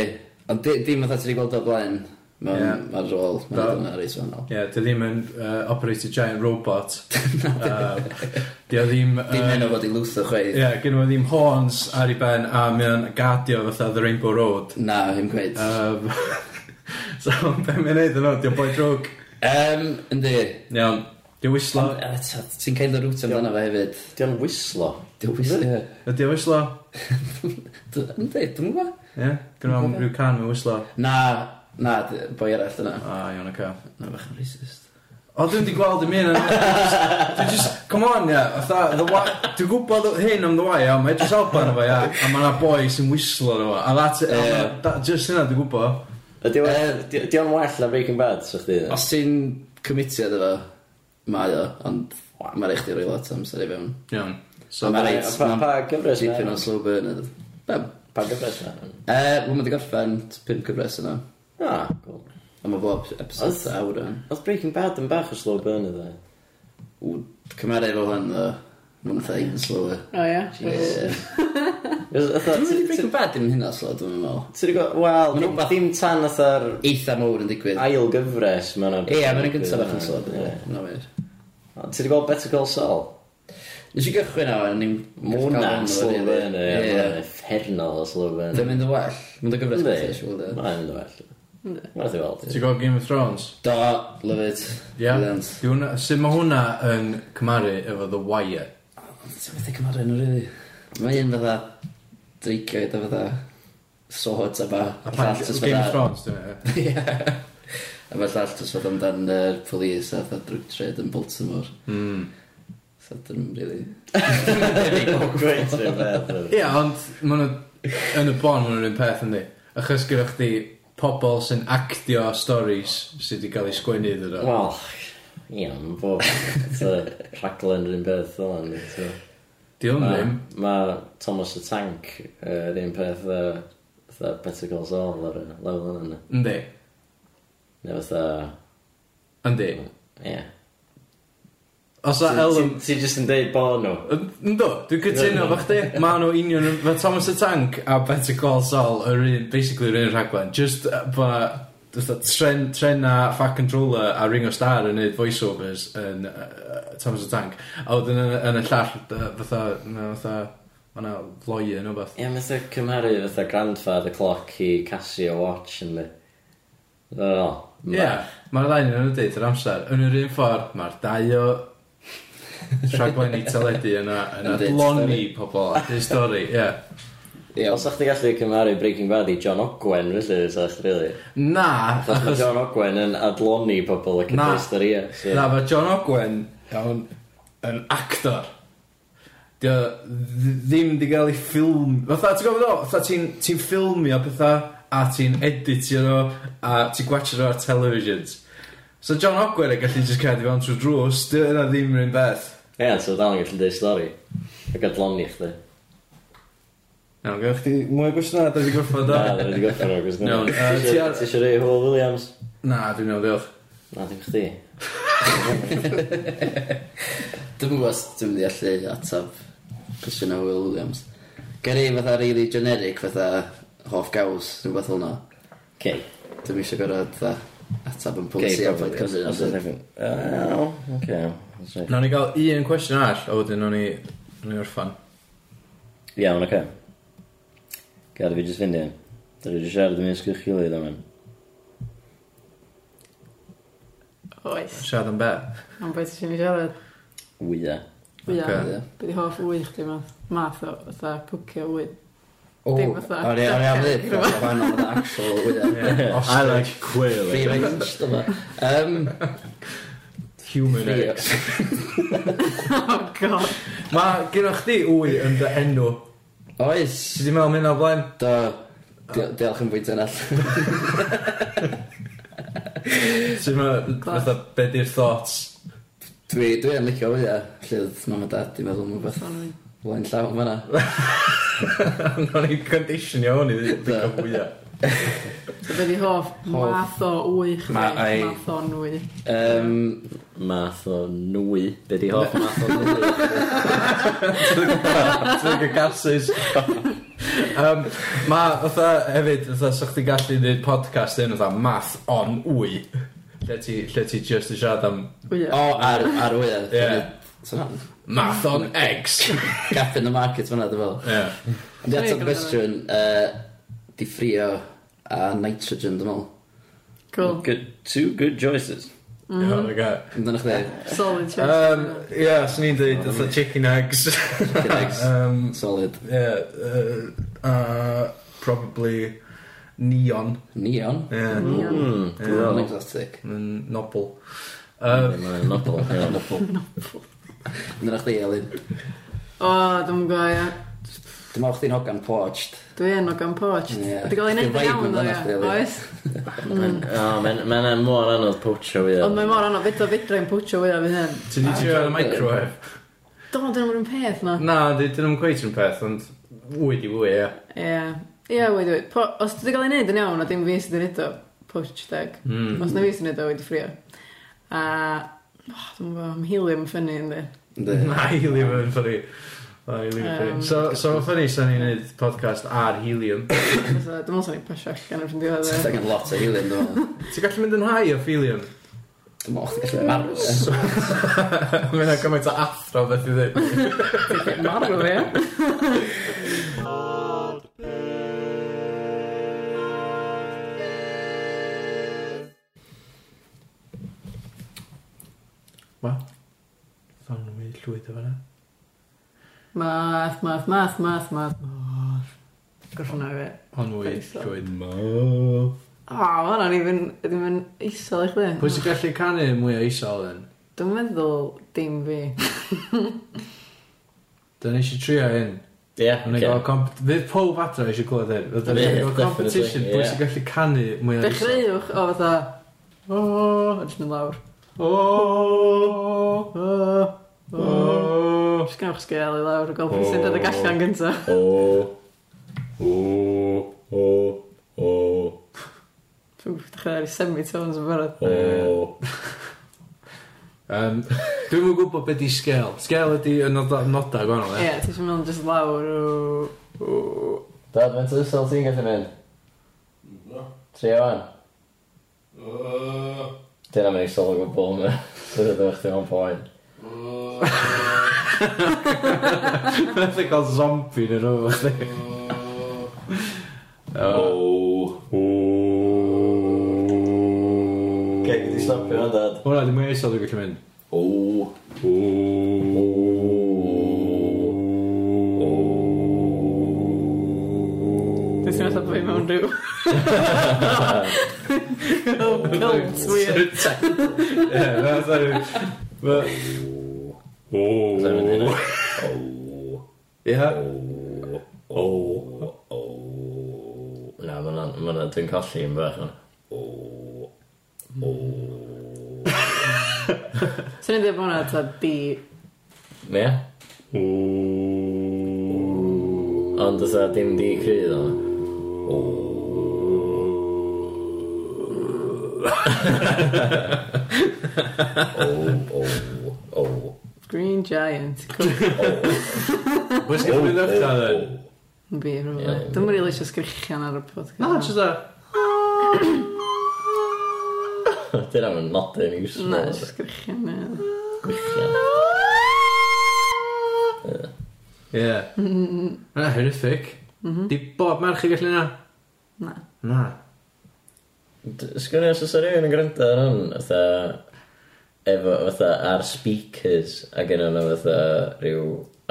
S7: ond di- dim fatha ti wedi gweld o blaen,
S1: Ie.
S7: mae'n ar ôl,
S1: Do.
S7: mae'n dyna reis fanol.
S1: Ie, dy ddim yn uh, operator giant robot. Yy, Dy o ddim... yy,
S7: Dim hyn o fod i lwtho chweith.
S1: Ie, gen nhw ddim horns ar ei ben a mae o'n gadio fatha The Rainbow Road.
S7: Na, ddim gweud.
S1: Um, so, be mae'n neud yn o'n, diolch boi drwg.
S7: Yym, yndi.
S1: Iawn, diolch wislo.
S7: A t- Ti'n cael dy rwt amdano fe hefyd.
S2: Dio'n wislo.
S7: Dewis. Yndi,
S1: Ydi o wislo?
S7: dwi'n gwybod.
S1: Ie, gen nhw am rhyw can mewn wislo.
S7: Na, na, d- boi arall yna.
S1: A, iawn, oce.
S7: Na, bach yn racist.
S1: O, dwi'n di gweld dim un yn... Dwi'n just, come on, ia. Fatha, The Wi- dwi'n gwybod hyn am The Wire, ia. Mae Edris Alba yna fo, ia. A mae yna boi sy'n whislo yna fo. A that's it.
S7: Ie.
S1: Yeah. That, just hynna, dwi'n gwybod.
S2: Dio'n well na Breaking Bad, so chdi.
S7: Os ti'n commitio dy fo, Mae o, ond mae'n eich di roi lot o amser i fewn.
S1: Iawn.
S7: So mae'n reit,
S2: Pa,
S7: mae'n
S2: pa gyfres
S7: dipyn
S2: na?
S7: o slow burn ydw. Bam.
S2: Pa gyfres na?
S7: E, Wel, mae wedi gorffen pum cyfres yna.
S2: Ah, cool.
S7: A mae bob episod
S2: Oedd-
S7: awr yn.
S2: Oedd Breaking Bad yn bach o slow burn ydw.
S7: Ww, Cymeru fel hyn, ddo. Mae'n thai yn slower.
S3: O ia.
S7: Ie. Dwi'n mynd i
S2: Ti'n
S7: Breaking Bad yn hynna slow, dwi'n meddwl.
S2: gwybod, wel,
S7: Ma'n
S2: dim-
S7: rwbath-
S2: dim tan atha'r
S7: Eitha mowr yn digwydd.
S2: ail gyfres ma' 'na-
S7: Ie, mae'n gyntaf bach yn slow,
S2: Ie.
S7: dwi'n meddwl.
S2: Ond Ti wedi gweld Better Call Saul?
S7: Nes i gychwyn awr, ni'n...
S2: Mae hwnna'n slow burn Mae'n effernol o slow burn
S7: Dwi'n mynd yn well. Mae'n dy gyfres gyda, siwl
S2: Mae'n mynd o well Mae'n ddi weld
S1: Ti'n gweld Game of Thrones?
S7: Do, love it.
S1: Ie.
S7: Brilliant.
S1: Di hwnna- Sut mae hwnna yn cymaru efo The Wire?
S7: Ti'n methu cymaru nhw, rili. Mae un fatha dreigiaid a fatha swords a ba.
S1: A pan Game of Thrones, dyn nhw.
S7: Ie. A mae llall jyst fod amdan yr polis a fatha drug trade yn Baltimore.
S1: Mm.
S7: So dyn nhw'n rili...
S2: Great rhywbeth.
S1: Ie, ond ma' nhw- yn y bon maen nhw'n un peth yndi. Achos gyda chdi pobl sy'n actio storis sydd wedi cael eu sgwennu iddyn nhw.
S2: Wel, ie, mae'n bob so, rhaglen yr un peth fel yna. so.
S1: Di hwn
S2: Ma-
S1: ddim.
S2: Mae Thomas y Tank yr un peth yy, fatha Better Call Saul ar y lefel yna.
S1: Yndi.
S2: Neu fatha,
S1: Yndi.
S2: ie.
S1: Os a Elm...
S2: Ti- Ti jyst yn deud bod nhw.
S1: Ynddo, dwi'n cytuno fo chdi. Mae nhw union... yn- Mae Thomas y Tank a Better Call Saul yr un, basically yr un rhaglen. Just ba... Dwi'n tren, trena, Fat Controller a Ringo Starr yn neud voiceovers yn uh, Thomas y Tank. A wedyn yn, yn y llall, fatha, fatha, ma' fatha, ma'na lawyer neu beth.
S2: Ie, mae'n cymharu fatha grandfather clock i Casio watch yn di. Fel.
S1: Ie, mae'r ddau yn y dweud yr amser. Yn yr un ffordd, mae'r dau o rhaglenni teledu yna yn
S7: Yn deud
S1: adloni pobl at ei stori, ie.
S7: Ie,
S2: Os ydych chi gallu cymharu Breaking Bad i John Ogwen, felly, os ydych chi rili.
S1: Na,
S2: Achos mae
S1: achos...
S2: John Ogwen yn adloni pobl ac yn
S1: Na.
S2: dweud historia. so-
S1: Na, mae John Ogwen iawn yn actor. Dio dd- ddim di gael ei ffilm... Fatha, ti'n gofod o? Fatha, ti'n ti ffilmio pethau a ti'n editio nhw a ti'n gwachio nhw ar televisions. So John Ogwen yn gallu just cadw fewn trwy drws, dio yna ddim yn un beth.
S2: Ie, so dal yn gallu dweud stori. Ac adloni chdi.
S1: Iawn, gwych chi mwy o gwestiynau, da fi gorffod o.
S2: Na, dwi wedi gorffen o'r gwrs.
S1: Iawn, yy,
S2: Ti
S1: ti ar-
S2: eisiau rei Hwyl Williams?
S1: Na, dwi'n iawn, diolch.
S2: Na, dim chdi.
S7: Dwi'n gwybod os dwi'n mynd i allu atab cwestiwn o Will Williams. Ger i fatha really generic fatha hoff gaws, dwi'n beth hwnna.
S2: Ce.
S7: Dwi'n eisiau gorau fatha atab yn
S2: Ce,
S7: polisi a fod cyfrin os ydych.
S2: Ce.
S1: Nawn ni gael un cwestiwn all, a wedyn nawn ni, nawn ni orffan.
S2: Iawn, oce. Gad i fi jyst fynd i. Da fi wedi siarad yn ysgwch chi leid am hyn.
S3: Oes.
S1: Siarad am be.
S3: Am beth sy'n ei siarad.
S2: Wya.
S3: Ia.
S1: Ocê.
S3: Bydd i hoff wy chdi math. Math o fatha pwcio wy.
S7: O,
S3: Dim fatha-
S7: o'n i o'n i am ddim. Fan o'n actual wyda.
S1: I like
S7: Free
S1: quail.
S7: range, dyma. Yym,
S1: Human
S7: free-
S1: eggs.
S3: Oh god.
S1: Mae gyda chdi wy yn dy enw.
S7: Oes,
S1: Ti di meddwl mynd o blaen?
S7: do. Di- Diolch yn bwynt yn all.
S1: Ti meddwl, fatha, be di'r thoughts?
S7: Dwi, dwi yn licio fwy a llydd mam a dad i meddwl mwy beth. Blaen llaw yn fanna.
S1: Nawn ni conditionio hwn i ddim
S7: Do.
S1: fwyaf.
S3: Bydd i hoff
S7: Hoff.
S3: math o wy chdi.
S7: Ma- ai-
S3: Math o nwy.
S7: Yym,
S2: Math o nwy. Be di hoff math o nwy?
S1: Twig y gases. um, ma, fatha, hefyd, fatha, sa chdi gallu neud podcast yn, fatha, math on wy. Lle ti, lle ti just yn siarad am
S3: Wy.
S7: O, ar, ar wyau.
S1: Ie.
S7: So,
S1: math on eggs.
S7: gap in the market fyna, dwi'n fel.
S1: yeah.
S7: Ond i atab y cwestiwn, uh, di ffrio a nitrogen, dwi'n fel.
S3: Cool.
S2: Good, two good choices.
S7: Mhm.
S1: Mm -hmm.
S7: Amdano chdi,
S3: Solid choice.
S1: um, yeah, swn i'n dweud, fatha, chicken eggs.
S7: chicken eggs,
S1: um,
S7: solid.
S1: yeah, uh, uh, probably neon.
S7: Neon.
S1: Yeah.
S2: Mm,
S7: Yn
S2: diddorol.
S7: exotic.
S1: Mm. Nobl. Um,
S2: Mae'n nobl. Ie, nobl.
S7: Amdano chdi, Elin.
S3: O, dwi'n gwybod, ia.
S7: Dwi'n meddwl chdi'n hogan poached.
S3: Dwi yn o gan poached.
S7: Ie.
S3: Wedi gael ei wneud
S7: Dwi'n
S3: yn iawn
S7: vibe yn fan'na chdi,
S3: ddo,
S7: Elin.
S3: ie. Oes?
S2: Mae'n an mor anodd pocho fi.
S3: Ond mae mor anodd fydda fydra i'n pwtio fwyaf fydd hyn.
S1: Ti'n ni trio ar y microwave?
S3: Do, dyn nhw'n un peth na.
S1: Na, di- dyn nhw'n gweithio'n peth, ond wyd i wyd, ie.
S3: Ie. Ie, wedi wedi. Po- Os dwi wedi gael ei wneud yn iawn, a dim fi sydd wedi wneud o, poached egg.
S1: Mm.
S3: Os na fi sydd wedi wneud o, wedi ffrio. A... Oh, dwi'n gwybod, am helium yn ffynnu ynddi.
S7: Yndi.
S1: Na, helium yn ffynnu. Na, helium yn
S3: Yym.
S1: ffynnu. So, so mae'n ffynnu sa'n ni'n neud podcast ar helium.
S3: Fysa- Dwi'n meddwl sy'n ei pasio allan o'r ffrindio
S7: Ti'n
S3: dde.
S7: angen lot o helium, dwi'n meddwl.
S1: Ti'n gallu mynd yn high o helium?
S7: Dwi'n meddwl chdi gallu marw. ie.
S1: Mae'n gymaint o athro beth i ddim.
S3: Marw fi, ie.
S1: Ma? Thon nhw'n llwyd o fanna.
S3: Math, math, math, math, math, math. Gorffna fi.
S1: Hon wyd
S3: Croeso.
S1: llwyd.
S3: O, oh, hwnna ni ddim yn isol i chdi.
S1: Pwy sy'n gallu canu mwy o isol yn?
S3: Dwi'n meddwl dim fi.
S1: Dyna eisiau trio hyn.
S2: Ie,
S1: Fydd okay. pob adra eisiau clywed hyn. Fydd
S2: Ie,
S1: yeah, competition
S2: definitely,
S1: pwy
S2: ie.
S1: sy'n gallu canu mwy o isol.
S3: Dechreuwch o fatha... O, a jyst yn lawr.
S1: O, o, o, o.
S3: Jyst gwnewch sgel i lawr o gofyn sy'n dod y gallan gynta.
S2: O. O. O. O.
S3: Dwi'n dechrau ar i semitones yn barod.
S2: O.
S1: Um, Dwi'n mwyn gwybod beth i sgel. Sgel ydi y noda, noda gwahanol,
S3: Ie,
S1: e?
S3: ti eisiau meddwl jyst lawr o... o-
S2: Dad, mae'n tysol ti'n gallu mynd? Tri o fan. Dyna mae'n isol o gwbl yma. Dyna ddech chi'n hwn poen.
S1: Beth i gael zombi neu rhywbeth.
S2: O. O.
S4: Oh.
S2: Gael gyda stopio hwn, dad.
S1: Hwna, dim mwy isol dwi'n gallu mynd.
S2: O. O.
S3: Dwi'n teimlo fatha bod fi mewn rhyw. Cult, weird.
S1: Ie, na, sorry. Ma- Ie.
S2: Na, mae'n mae'n dwi'n colli yn bach hwn.
S3: Swn i'n dweud bod hwnna ta di...
S2: Ie? Ond oedd dim di crydd o'n.
S3: Green Giant. Cool.
S1: Pwy sy'n gallu mynd efta, dden?
S3: Bi,
S2: Ie.
S3: rhywbeth. Dwi'n rili eisiau sgrichian ar y podcast.
S1: Na, jyst da.
S2: Dyna mae'n nodyn i wsio.
S3: Na, jyst sgrichian. ie.
S1: Ie. Na, horrific. Di bob merch i gallu na?
S3: Na.
S1: Mhm. Na.
S2: Sgwni os oes rhywun yn gwrando ar hwn, fatha... Efo, fatha, ar speakers, a gyda nhw fatha rhyw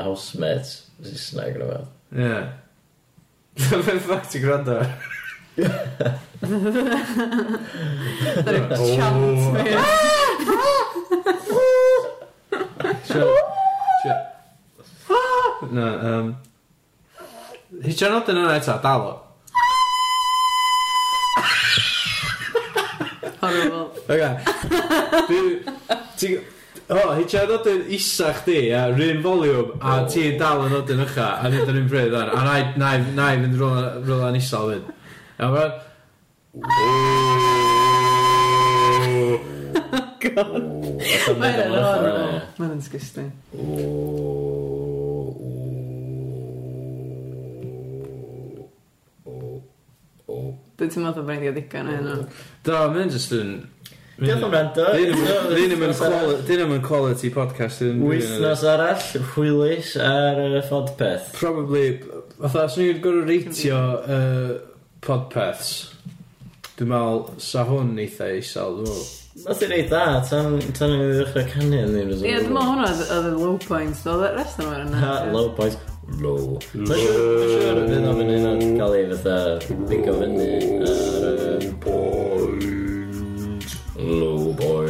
S2: housemates, Saesneg yn fel.
S1: Ie. Beth ffac ti'n gwrando?
S3: Dyna yw chant fi.
S1: Sure. Sure. Na, um... Hitio'n nodyn yna eto, dal o.
S3: Horrible.
S1: Oga. Dwi- ti- O, hi ti'n nodyn isa chdi, a rhywun volume, a ti'n dal yn nodyn ycha, a nid yn un bryd ar, a na i- na i na i fynd rola- rola yn isa fyd. A ma...
S3: Mae'n yn horrible. Mae'n yn disgusting. Dwi'n teimlo fatha bod ni'n gael ddigon o hynna.
S1: Do, mae'n just yn...
S2: Diolch am rando.
S1: Dyn nhw'n quali- 'di hyn ddim yn quality podcast dyn nhw'n-
S2: Wythnos arall, hwylus ar y ffodpeth.
S1: Probably, fatha, os ni'n gorau reitio uh, podpeths, dwi'n meddwl, sa hwn eitha isel, dwi'n meddwl.
S2: Nath i'n ei da, tan tan i ddechrau canu yn ddim
S3: Ie, dwi'n meddwl hwnna oedd- oedd y low points, do. Oedd y rest o'n yna.
S2: Ha, low point. Low. Mae'n siŵr y fydd o'n mynd yn cael ei fatha bigo fyny ar y... Point. Low point.